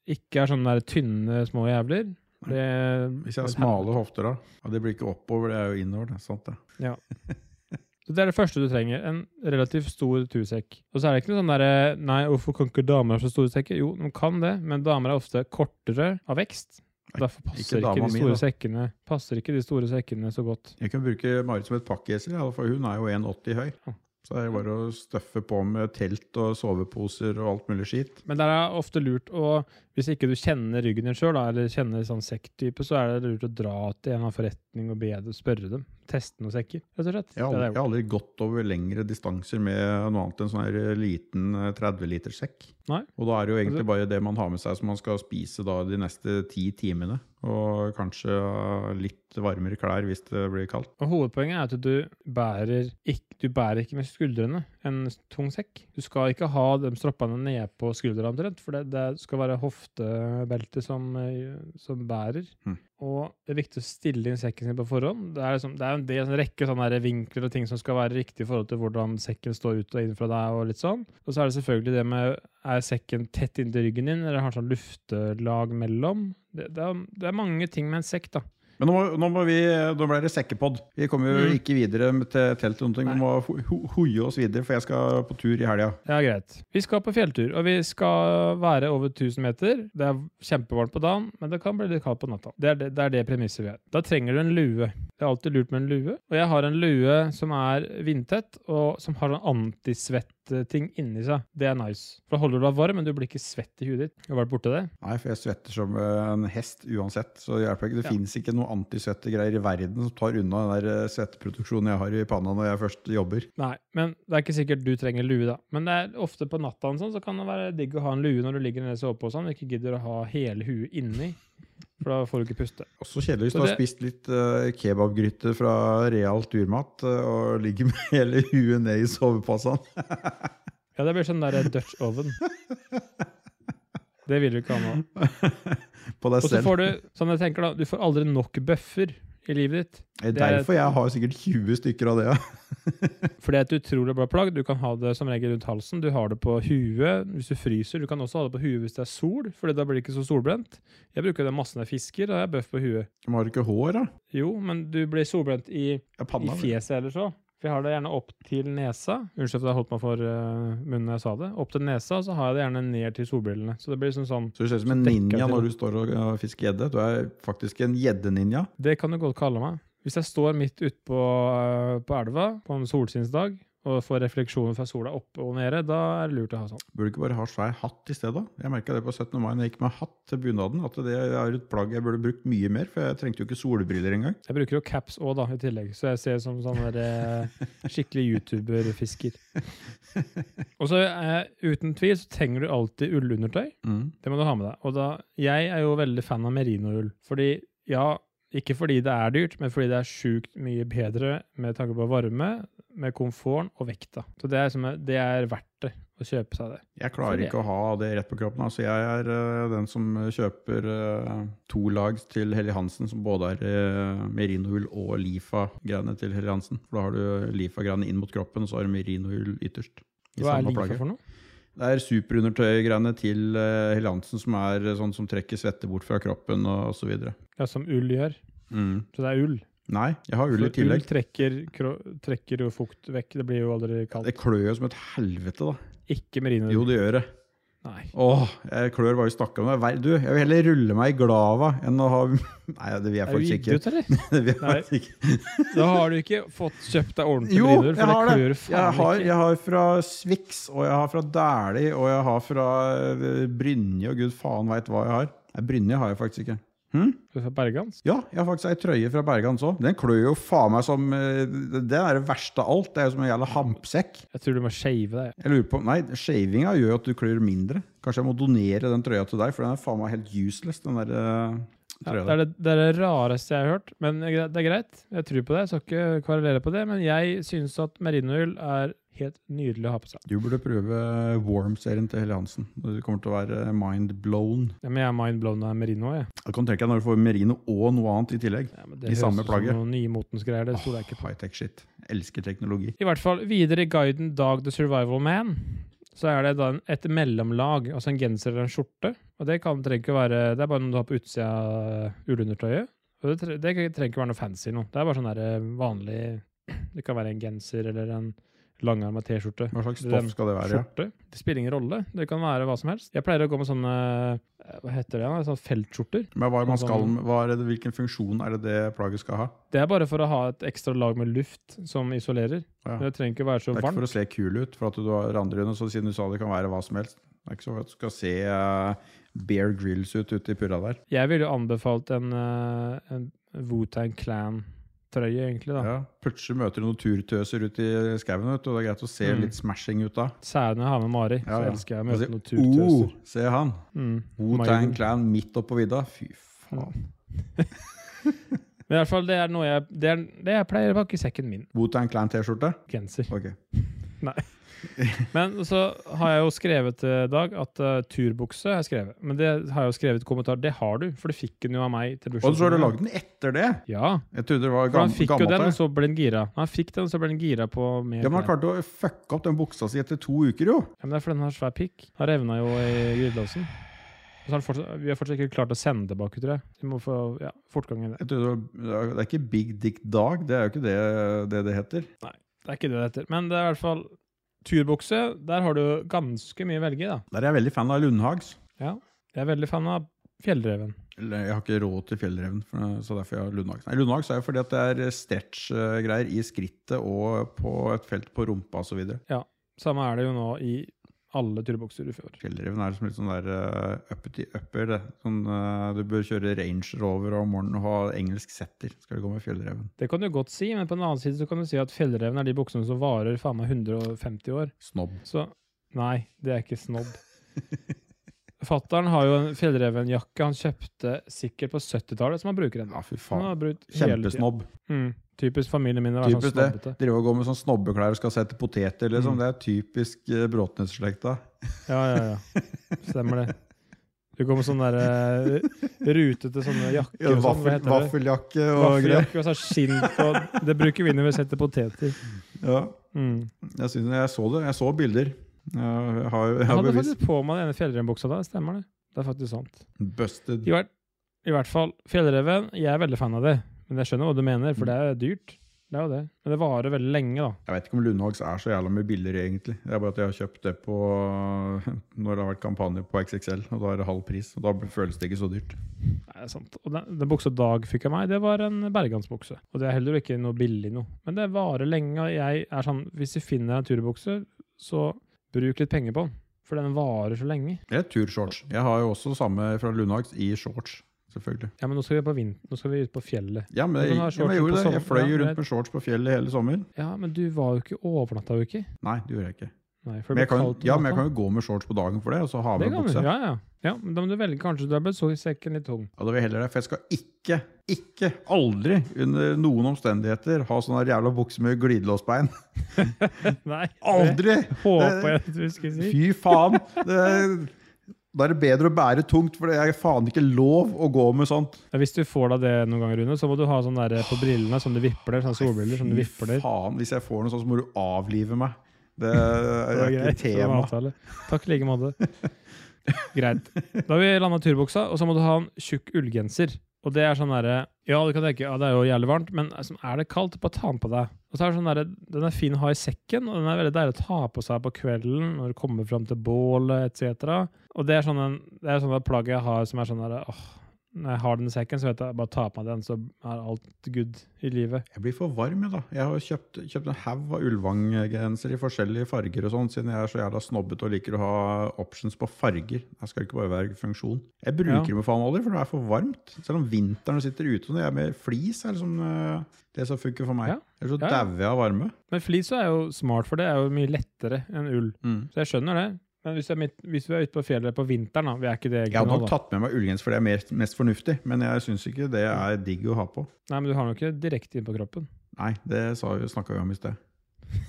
Speaker 2: ikke er sånne der tynne små jævler. Det,
Speaker 1: Hvis jeg har smale hofter, da. Ja, det blir ikke oppover, det er jo innover. Det, er sant, det.
Speaker 2: Så Det er det første du trenger. En relativt stor tursekk. Og så er det ikke noe sånn derre Nei, hvorfor kan ikke damer ha så store sekker? Jo, de kan det, men damer er ofte kortere av vekst. Og Derfor passer ikke,
Speaker 1: dama
Speaker 2: de
Speaker 1: mi,
Speaker 2: store
Speaker 1: da.
Speaker 2: sekkene Passer ikke de store sekkene så godt.
Speaker 1: Jeg kan bruke Marit som et pakkeesel, ja, for hun er jo 1,80 høy.
Speaker 2: Ja.
Speaker 1: Så det er jo bare å støffe på med telt og soveposer og alt mulig skit.
Speaker 2: Men det er ofte lurt å Hvis ikke du kjenner ryggen din sjøl, eller kjenner sånn sekktype, så er det lurt å dra til en eller annen forretning og be dem spørre dem. Teste noen sekker, rett og slett.
Speaker 1: Jeg har
Speaker 2: Det
Speaker 1: aldri,
Speaker 2: er
Speaker 1: jeg har aldri gått over lengre distanser med noe annet enn sånn her eh, liten 30-liters sekk.
Speaker 2: Nei. Altså-
Speaker 1: Og da er det jo egentlig bare det man har med seg som man skal spise da de neste ti timene. Og kanskje eh, litt varmere klær hvis det blir kaldt.
Speaker 2: Og Hovedpoenget er at du bærer ikke, du bærer ikke med skuldrene en tung sekk. Du skal ikke ha de stroppene nede på skuldrene omtrent, for det, det skal være hoftebelte som, eh, som bærer.
Speaker 1: Mhm.
Speaker 2: Og det er viktig å stille inn sekken sin på forhånd. Det er, liksom, det er en del en rekke sånne her vinkler og ting som skal være riktig i forhold til hvordan sekken står ut og inn fra deg. Og litt sånn. Og så er det selvfølgelig det med er sekken tett inntil ryggen din, eller har sånn luftelag mellom. Det, det, er, det er mange ting med en sekk, da.
Speaker 1: Men nå, må- nå, må vi, eh, nå ble det sekkepodd. Vi kommer jo
Speaker 2: Mm.
Speaker 1: ikke videre med til telt. eller noen ting. Vi
Speaker 2: Nei.
Speaker 1: må ho- ho- hoie oss videre, for jeg skal på tur i helga.
Speaker 2: Ja, greit. Vi skal på fjelltur, og vi skal være over 1000 meter. Det er kjempevarmt på dagen, men det kan bli litt kaldt på natta. Det er det, det, er det premisset vi har. Da trenger du en lue. Det er alltid lurt med en lue. Og jeg har en lue som er vindtett, og som har sånn antisvett-ting inni seg. Det er nice. For da holder du deg varm, men du blir ikke svett i huet ditt. Har du vært borti det?
Speaker 1: Nei, for jeg svetter som en hest uansett. Så det hjelper ikke. Det
Speaker 2: Ja.
Speaker 1: finnes fins ikke noe antisvettegreier i verden som tar unna den der eh, svetteproduksjonen jeg har i panna når jeg først jobber.
Speaker 2: Nei, men det er ikke sikkert du trenger lue, da. Men det er ofte på natta og sånn, så kan det være digg å ha en lue når du ligger nede og sover på og sånn, og ikke gidder å ha hele huet inni. For da får du ikke puste.
Speaker 1: Også kjedelig hvis du
Speaker 2: Så
Speaker 1: har
Speaker 2: det-
Speaker 1: spist litt eh, kebabgryte fra real turmat eh, og ligger med hele huet ned i sovepassaen.
Speaker 2: Ja, det blir sånn der Dutch oven. Det vil du ikke ha nå.
Speaker 1: På deg
Speaker 2: Og så
Speaker 1: selv.
Speaker 2: får du sånn jeg tenker da, du får aldri nok bøffer i livet ditt.
Speaker 1: Det er
Speaker 2: Det er-
Speaker 1: derfor jeg har sikkert 20 stykker av det. ja.
Speaker 2: For det er et utrolig bra plagg. Du kan ha det som regel rundt halsen. Du har det på huet hvis du fryser. Du kan også ha det på huet hvis det er sol, for da blir det ikke så solbrent. Jeg bruker det massen jeg fisker, da har jeg bøff på huet.
Speaker 1: De har ikke hår, da.
Speaker 2: Jo, men du blir solbrent i,
Speaker 1: Ja,
Speaker 2: i
Speaker 1: panna. vel.
Speaker 2: fjeset ellers òg. For jeg har det gjerne opp til nesa. Unnskyld for at jeg holdt meg for eh, munnen når jeg sa det. Opp til nesa, og så har jeg det gjerne ned til solbrillene. Så det blir liksom sånn
Speaker 1: Så du ser ut som en
Speaker 2: Så dekker
Speaker 1: ninja
Speaker 2: til.
Speaker 1: når du står og og fisker gjedde. Du er faktisk en gjeddeninja.
Speaker 2: Det kan du godt kalle meg. Hvis jeg står midt ute på, eh, på elva på en solskinnsdag og får refleksjoner fra sola oppe og nede, da er det lurt å ha sånn.
Speaker 1: Burde du ikke bare ha svær hatt i stedet? Jeg merka det på 17. mai når jeg gikk med hatt til bunaden. At det er et plagg jeg burde brukt mye mer, for jeg trengte jo ikke solbriller engang.
Speaker 2: Jeg bruker jo caps òg, da, i tillegg, så jeg ser som sånn der, eh, skikkelig YouTuber-fisker. Og så eh, uten tvil så trenger du alltid ullundertøy.
Speaker 1: Mm.
Speaker 2: Det må du ha med deg. Og da, jeg er jo veldig fan av merinoull. Fordi, ja, ikke fordi det er dyrt, men fordi det er sjukt mye bedre med tanke på varme, med komforten og vekta. Så det er, som, det er verdt det å kjøpe seg det.
Speaker 1: Jeg klarer
Speaker 2: Så det-
Speaker 1: ikke å ha det rett på kroppen. Altså, jeg er eh, den som kjøper eh, to lag til Helly Hansen, som både er eh, merinohull og lifa-greiene til Helly Hansen. For da har du lifa-greiene inn mot kroppen, og så har du merinohull ytterst. i
Speaker 2: Hva er
Speaker 1: samme
Speaker 2: lifa
Speaker 1: plagget.
Speaker 2: for noe?
Speaker 1: Det er superundertøy-greiene til eh, Helly Hansen som er eh, sånn som trekker svette bort fra kroppen og og så videre.
Speaker 2: Ja, som ull gjør.
Speaker 1: Mm.
Speaker 2: Så det er ull.
Speaker 1: Nei, jeg har ull i
Speaker 2: For
Speaker 1: tillegg.
Speaker 2: trekker, kro, trekker jo fukt vekk. Det blir jo aldri kaldt.
Speaker 1: Det klør jo som et helvete, da.
Speaker 2: Ikke merinoull.
Speaker 1: Jo, det gjør det.
Speaker 2: Nei.
Speaker 1: Åh, jeg klør bare i stakka med meg. Du, jeg vil heller rulle meg i glava enn å ha Nei, det vil jeg
Speaker 2: Er du
Speaker 1: faktisk ikke.
Speaker 2: idiot, eller?
Speaker 1: Det vil jeg
Speaker 2: Nei.
Speaker 1: faktisk ikke.
Speaker 2: Da har du ikke fått kjøpt deg ordentlig
Speaker 1: Jo,
Speaker 2: merinoull,
Speaker 1: jeg har
Speaker 2: for det
Speaker 1: det.
Speaker 2: klør
Speaker 1: Jeg
Speaker 2: faen
Speaker 1: har,
Speaker 2: ikke.
Speaker 1: jeg har fra Swix, og jeg har fra Dæhlie, og jeg har fra eh, Brynje, og gud faen veit hva jeg har. Nei, Brynje har jeg faktisk ikke. Hm?
Speaker 2: Du er fra Bergans.
Speaker 1: Ja, jeg har faktisk ei trøye fra Bergans òg. Den klør jo faen meg som eh, Det er det verste av alt. Det er jo som en jævla hampsekk.
Speaker 2: Jeg tror du må shave deg.
Speaker 1: Jeg lurer på, Nei, shavinga gjør jo at du klør mindre. Kanskje jeg må donere den trøya til deg, for den er faen meg helt useless, den der eh,
Speaker 2: Ja,
Speaker 1: trøya.
Speaker 2: det, er det, det er det rareste jeg har hørt, men det er gre- det er greit. Jeg tror på det. Jeg skal ikke kvarulere på det, men jeg synes at merinoull er helt nydelig å ha på seg.
Speaker 1: Du burde prøve Warm-serien til Helle Hansen. Du kommer til å være mind blown.
Speaker 2: Ja, men jeg er mindblown av merino. Jeg.
Speaker 1: Du kan tenke deg når du får merino og noe annet i tillegg.
Speaker 2: Ja, men
Speaker 1: I
Speaker 2: det høres
Speaker 1: samme
Speaker 2: ut som
Speaker 1: plagget.
Speaker 2: Noen nymotens greier, det stoler jeg ikke på.
Speaker 1: High-tech shit. Elsker teknologi.
Speaker 2: I hvert fall videre i guiden Dag the Survival Man, så er det da en- et mellomlag, altså en genser eller en skjorte. Og det kan trenger ikke være, det er bare noe du har på utsida av ullundertøyet. Og det, tre, det trenger ikke være noe fancy noe. Det er bare sånn der eh, vanlig, det kan være en genser eller en langarma T-skjorte.
Speaker 1: Hva slags
Speaker 2: Den
Speaker 1: stoff skal det være?
Speaker 2: skjorte. Det spiller ingen rolle. Det kan være hva som helst. Jeg pleier å gå med sånne eh, hva heter det, da? sånne feltskjorter.
Speaker 1: Ja? Men hva er man
Speaker 2: Sånn-
Speaker 1: skal, hva er det, hvilken funksjon er det det plagget skal ha?
Speaker 2: Det er bare for å ha et ekstra lag med luft som isolerer.
Speaker 1: Ja.
Speaker 2: Men Det trenger ikke være så
Speaker 1: Det er ikke
Speaker 2: varmt.
Speaker 1: for å se kul ut, for at du har andre øyne, så siden du sa det kan være hva som helst. Det er ikke så at du skal se eh, Bear Grills ut ute i purra der.
Speaker 2: Jeg ville jo anbefalt en, eh, en Wu-Tang Clan-trøye, egentlig. da.
Speaker 1: Ja. Plutselig møter du noen turtøser ute i skauen, vet du, og det er greit å se
Speaker 2: Mm.
Speaker 1: litt smashing ut da.
Speaker 2: Særlig når jeg har med Mari.
Speaker 1: Ja, Altså,
Speaker 2: Så
Speaker 1: ja.
Speaker 2: elsker jeg å
Speaker 1: Og
Speaker 2: møte
Speaker 1: se,
Speaker 2: noen turtøser.
Speaker 1: «Oh, se han!
Speaker 2: Mm.
Speaker 1: Wu-Tang
Speaker 2: Maiden.
Speaker 1: Clan midt oppå vidda. Fy faen.
Speaker 2: Men i hvert fall, det er noe jeg, det er, det jeg pleier å pakke i sekken min.
Speaker 1: Wu-Tang Clan-T-skjorte?
Speaker 2: Genser.
Speaker 1: Ok.
Speaker 2: Men så har jeg jo skrevet til Dag at eh, turbukse har jeg skrevet. Men det har jeg jo skrevet i kommentar. Det har du, for du fikk den jo av meg til
Speaker 1: Og
Speaker 2: bursdagen.
Speaker 1: så har du lagd den etter det?
Speaker 2: Ja.
Speaker 1: Jeg trodde det var
Speaker 2: For
Speaker 1: gam
Speaker 2: han fikk jo
Speaker 1: gammelt.
Speaker 2: den, liksom?
Speaker 1: det.
Speaker 2: og så ble den gira. Han fikk den, og så ble den gira på mer.
Speaker 1: Ja, men han klarte å fucke opp den buksa si etter to uker, jo.
Speaker 2: Ja, men det er fordi den har svær pikk. Han revna jo i glidelåsen. Og så har han fortsatt, vi har fortsatt ikke klart å sende den tilbake, tror jeg. Vi må få ja, fortgang i det.
Speaker 1: Jeg trodde, det var- det er ikke Big Dick Dag, det er jo ikke det det, det heter.
Speaker 2: Det er ikke det det heter. Men det er i hvert fall turbukse. Der har du ganske mye å velge i, da.
Speaker 1: Der er jeg veldig fan av Lundhags.
Speaker 2: Jeg er veldig fan av fjellreven.
Speaker 1: Eller, Jeg har ikke råd til fjellreven, for, så derfor jeg har Lundhags. Nei, Lundhags er jo fordi at det er eh, stretch-greier i skrittet og på et felt på rumpa osv.
Speaker 2: Samme er det jo nå i alle turbukser du får.
Speaker 1: Fjellreven er liksom litt sånn der eh, uppity upper. Det. Sånn, eh, du bør kjøre Range Rover om morgenen og ha engelsk setter. Skal du gå med fjellreven.
Speaker 2: Det kan du godt si, men på den annen side så kan du si at fjellreven er de buksene som varer faen meg 150 år.
Speaker 1: Snobb.
Speaker 2: Så nei, det er ikke snobb. Fattern har jo en fjellrevenjakke han kjøpte sikkert på 70-tallet, som han bruker ennå.
Speaker 1: Ja, fy
Speaker 2: Han
Speaker 1: faen.
Speaker 2: har brukt hele tiden.
Speaker 1: Kjempesnobb.
Speaker 2: Mm. Typisk familien min å være sånn
Speaker 1: Typisk det.
Speaker 2: snobbete.
Speaker 1: Drive og gå med sånn snobbeklær og skal sette poteter,
Speaker 2: Mm.
Speaker 1: liksom. Det er typisk eh, Bråtnes-slekta.
Speaker 2: Ja, ja, ja. Stemmer det. Det kommer sånn der eh, rutete sånne jakker og sånn. Hva
Speaker 1: vaffel,
Speaker 2: heter det?
Speaker 1: vaffeljakke og greier.
Speaker 2: Vaffeljakke og så skinn på. Det bruker vi når vi setter poteter.
Speaker 1: Ja,
Speaker 2: Mm.
Speaker 1: jeg, synes, jeg så det. Jeg så bilder. Jeg har, jeg har
Speaker 2: Jeg hadde
Speaker 1: bevis.
Speaker 2: faktisk på meg den ene fjellrevbuksa da. Stemmer det? Det er faktisk sant.
Speaker 1: Busted.
Speaker 2: I hvert, I hvert fall, fjellreven, jeg er veldig fan av det. Men jeg skjønner hva du mener, for det er dyrt. Det er jo det. Men det varer veldig lenge, da.
Speaker 1: Jeg vet ikke om Lundhags er så jævla mye billigere, egentlig. Det er bare at jeg har kjøpt det på når det har vært kampanje på XXL, og da er det halv pris. Og da føles det ikke så dyrt.
Speaker 2: Nei, det er sant. Og den, den buksa Dag fikk av meg, det var en bergansbukse. Og det er heller ikke noe billig noe. Men det varer lenge. og Jeg er sånn, hvis du finner en turbukse, så bruk litt penger på den. For den varer så lenge.
Speaker 1: Det er turshorts. Jeg har jo også samme fra Lundhags i shorts, selvfølgelig.
Speaker 2: Ja, men nå skal vi på vinter, nå skal vi ut på fjellet.
Speaker 1: Ja, men jeg,
Speaker 2: Men du har
Speaker 1: ja, men jeg
Speaker 2: shortser
Speaker 1: gjorde
Speaker 2: på
Speaker 1: det. Jeg
Speaker 2: sommeren.
Speaker 1: fløy
Speaker 2: Ja,
Speaker 1: jo
Speaker 2: jeg-
Speaker 1: rundt med shorts på fjellet hele sommeren.
Speaker 2: Ja, men du var jo ikke overnatta, jo ikke?
Speaker 1: Nei, det gjorde jeg ikke.
Speaker 2: Nei, for
Speaker 1: Men
Speaker 2: det
Speaker 1: jeg
Speaker 2: blir
Speaker 1: kan,
Speaker 2: kaldt om
Speaker 1: ja, men jeg
Speaker 2: natta.
Speaker 1: kan jo gå med shorts på dagen for det, og så ha
Speaker 2: Det
Speaker 1: med
Speaker 2: kan du.
Speaker 1: bukse.
Speaker 2: Ja, ja. ja, men da må du velge. Kanskje du er blitt så i sekken litt tung.
Speaker 1: Ja, da vil jeg heller det, for jeg skal ikke, ikke, aldri under noen omstendigheter ha sånne jævla bukser med glidelåsbein.
Speaker 2: Nei, det
Speaker 1: Aldri!
Speaker 2: håper jeg at du skulle si.
Speaker 1: Fy faen! Det, da er det bedre å bære tungt, for det er faen ikke lov å gå med sånt.
Speaker 2: Ja, Hvis du får deg det noen ganger, Rune, så må du ha sånn der på brillene som du vipper der. Sånne solbriller som du
Speaker 1: Fy
Speaker 2: vipper der.
Speaker 1: faen, hvis jeg får noe sånt, så må du avlive meg. Det
Speaker 2: Det
Speaker 1: er ikke
Speaker 2: var greit. det var en
Speaker 1: tema.
Speaker 2: avtale. Takk i like måte. Greit. Da har vi landa turbuksa, og så må du ha en tjukk ullgenser. Og det er sånn derre Ja, du kan tenke ja, det er jo jævlig varmt, men altså, er det kaldt, bare ta den på deg. Og så er det sånn derre Den er fin å ha i sekken, og den er veldig deilig å ta på seg på kvelden når du kommer fram til bålet etc. Og det er sånn en, det er sånn et plagg jeg har som er sånn derre åh, når jeg har den i sekken, så vet jeg bare ta på meg den, så er alt good i livet.
Speaker 1: Jeg blir for varm, jeg, da. Jeg har kjøpt, kjøpt en haug av Ulvang-genser i forskjellige farger og sånn, siden jeg er så jævla snobbete og liker å ha options på farger. Jeg skal ikke bare være funksjon. Jeg bruker
Speaker 2: Ja.
Speaker 1: dem jo faen aldri, for det er for varmt. Selv om vinteren og sitter ute og når jeg er med flis, er liksom eh, det som funker for meg.
Speaker 2: Ja.
Speaker 1: Ellers så
Speaker 2: Ja, ja.
Speaker 1: dauer jeg av varme.
Speaker 2: Men flis er jo smart, for det er jo mye lettere enn ull.
Speaker 1: Mm.
Speaker 2: Så jeg skjønner det. Men hvis, det er midt, hvis vi er ute på fjellet på vinteren, da Vi er ikke det
Speaker 1: Jeg
Speaker 2: egentlig
Speaker 1: hadde
Speaker 2: nå,
Speaker 1: nok
Speaker 2: da.
Speaker 1: tatt med meg ullgenser, for det er mer, mest fornuftig, men jeg syns ikke det er digg å ha på.
Speaker 2: Nei, men du har den jo ikke direkte inn på kroppen.
Speaker 1: Nei, det snakka vi om i sted.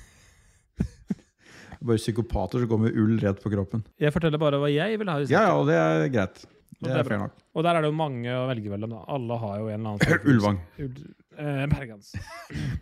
Speaker 1: Bare psykopater som går med ull rett på kroppen.
Speaker 2: Jeg forteller bare hva jeg vil ha i
Speaker 1: Ja,
Speaker 2: sekken.
Speaker 1: ja, og det er greit.
Speaker 2: Og
Speaker 1: Det
Speaker 2: det er
Speaker 1: er fair nok.
Speaker 2: Og der er det jo mange å velge mellom, da. Alle har jo en eller annen form for-
Speaker 1: Ulvang.
Speaker 2: Ull, eh, Bergans.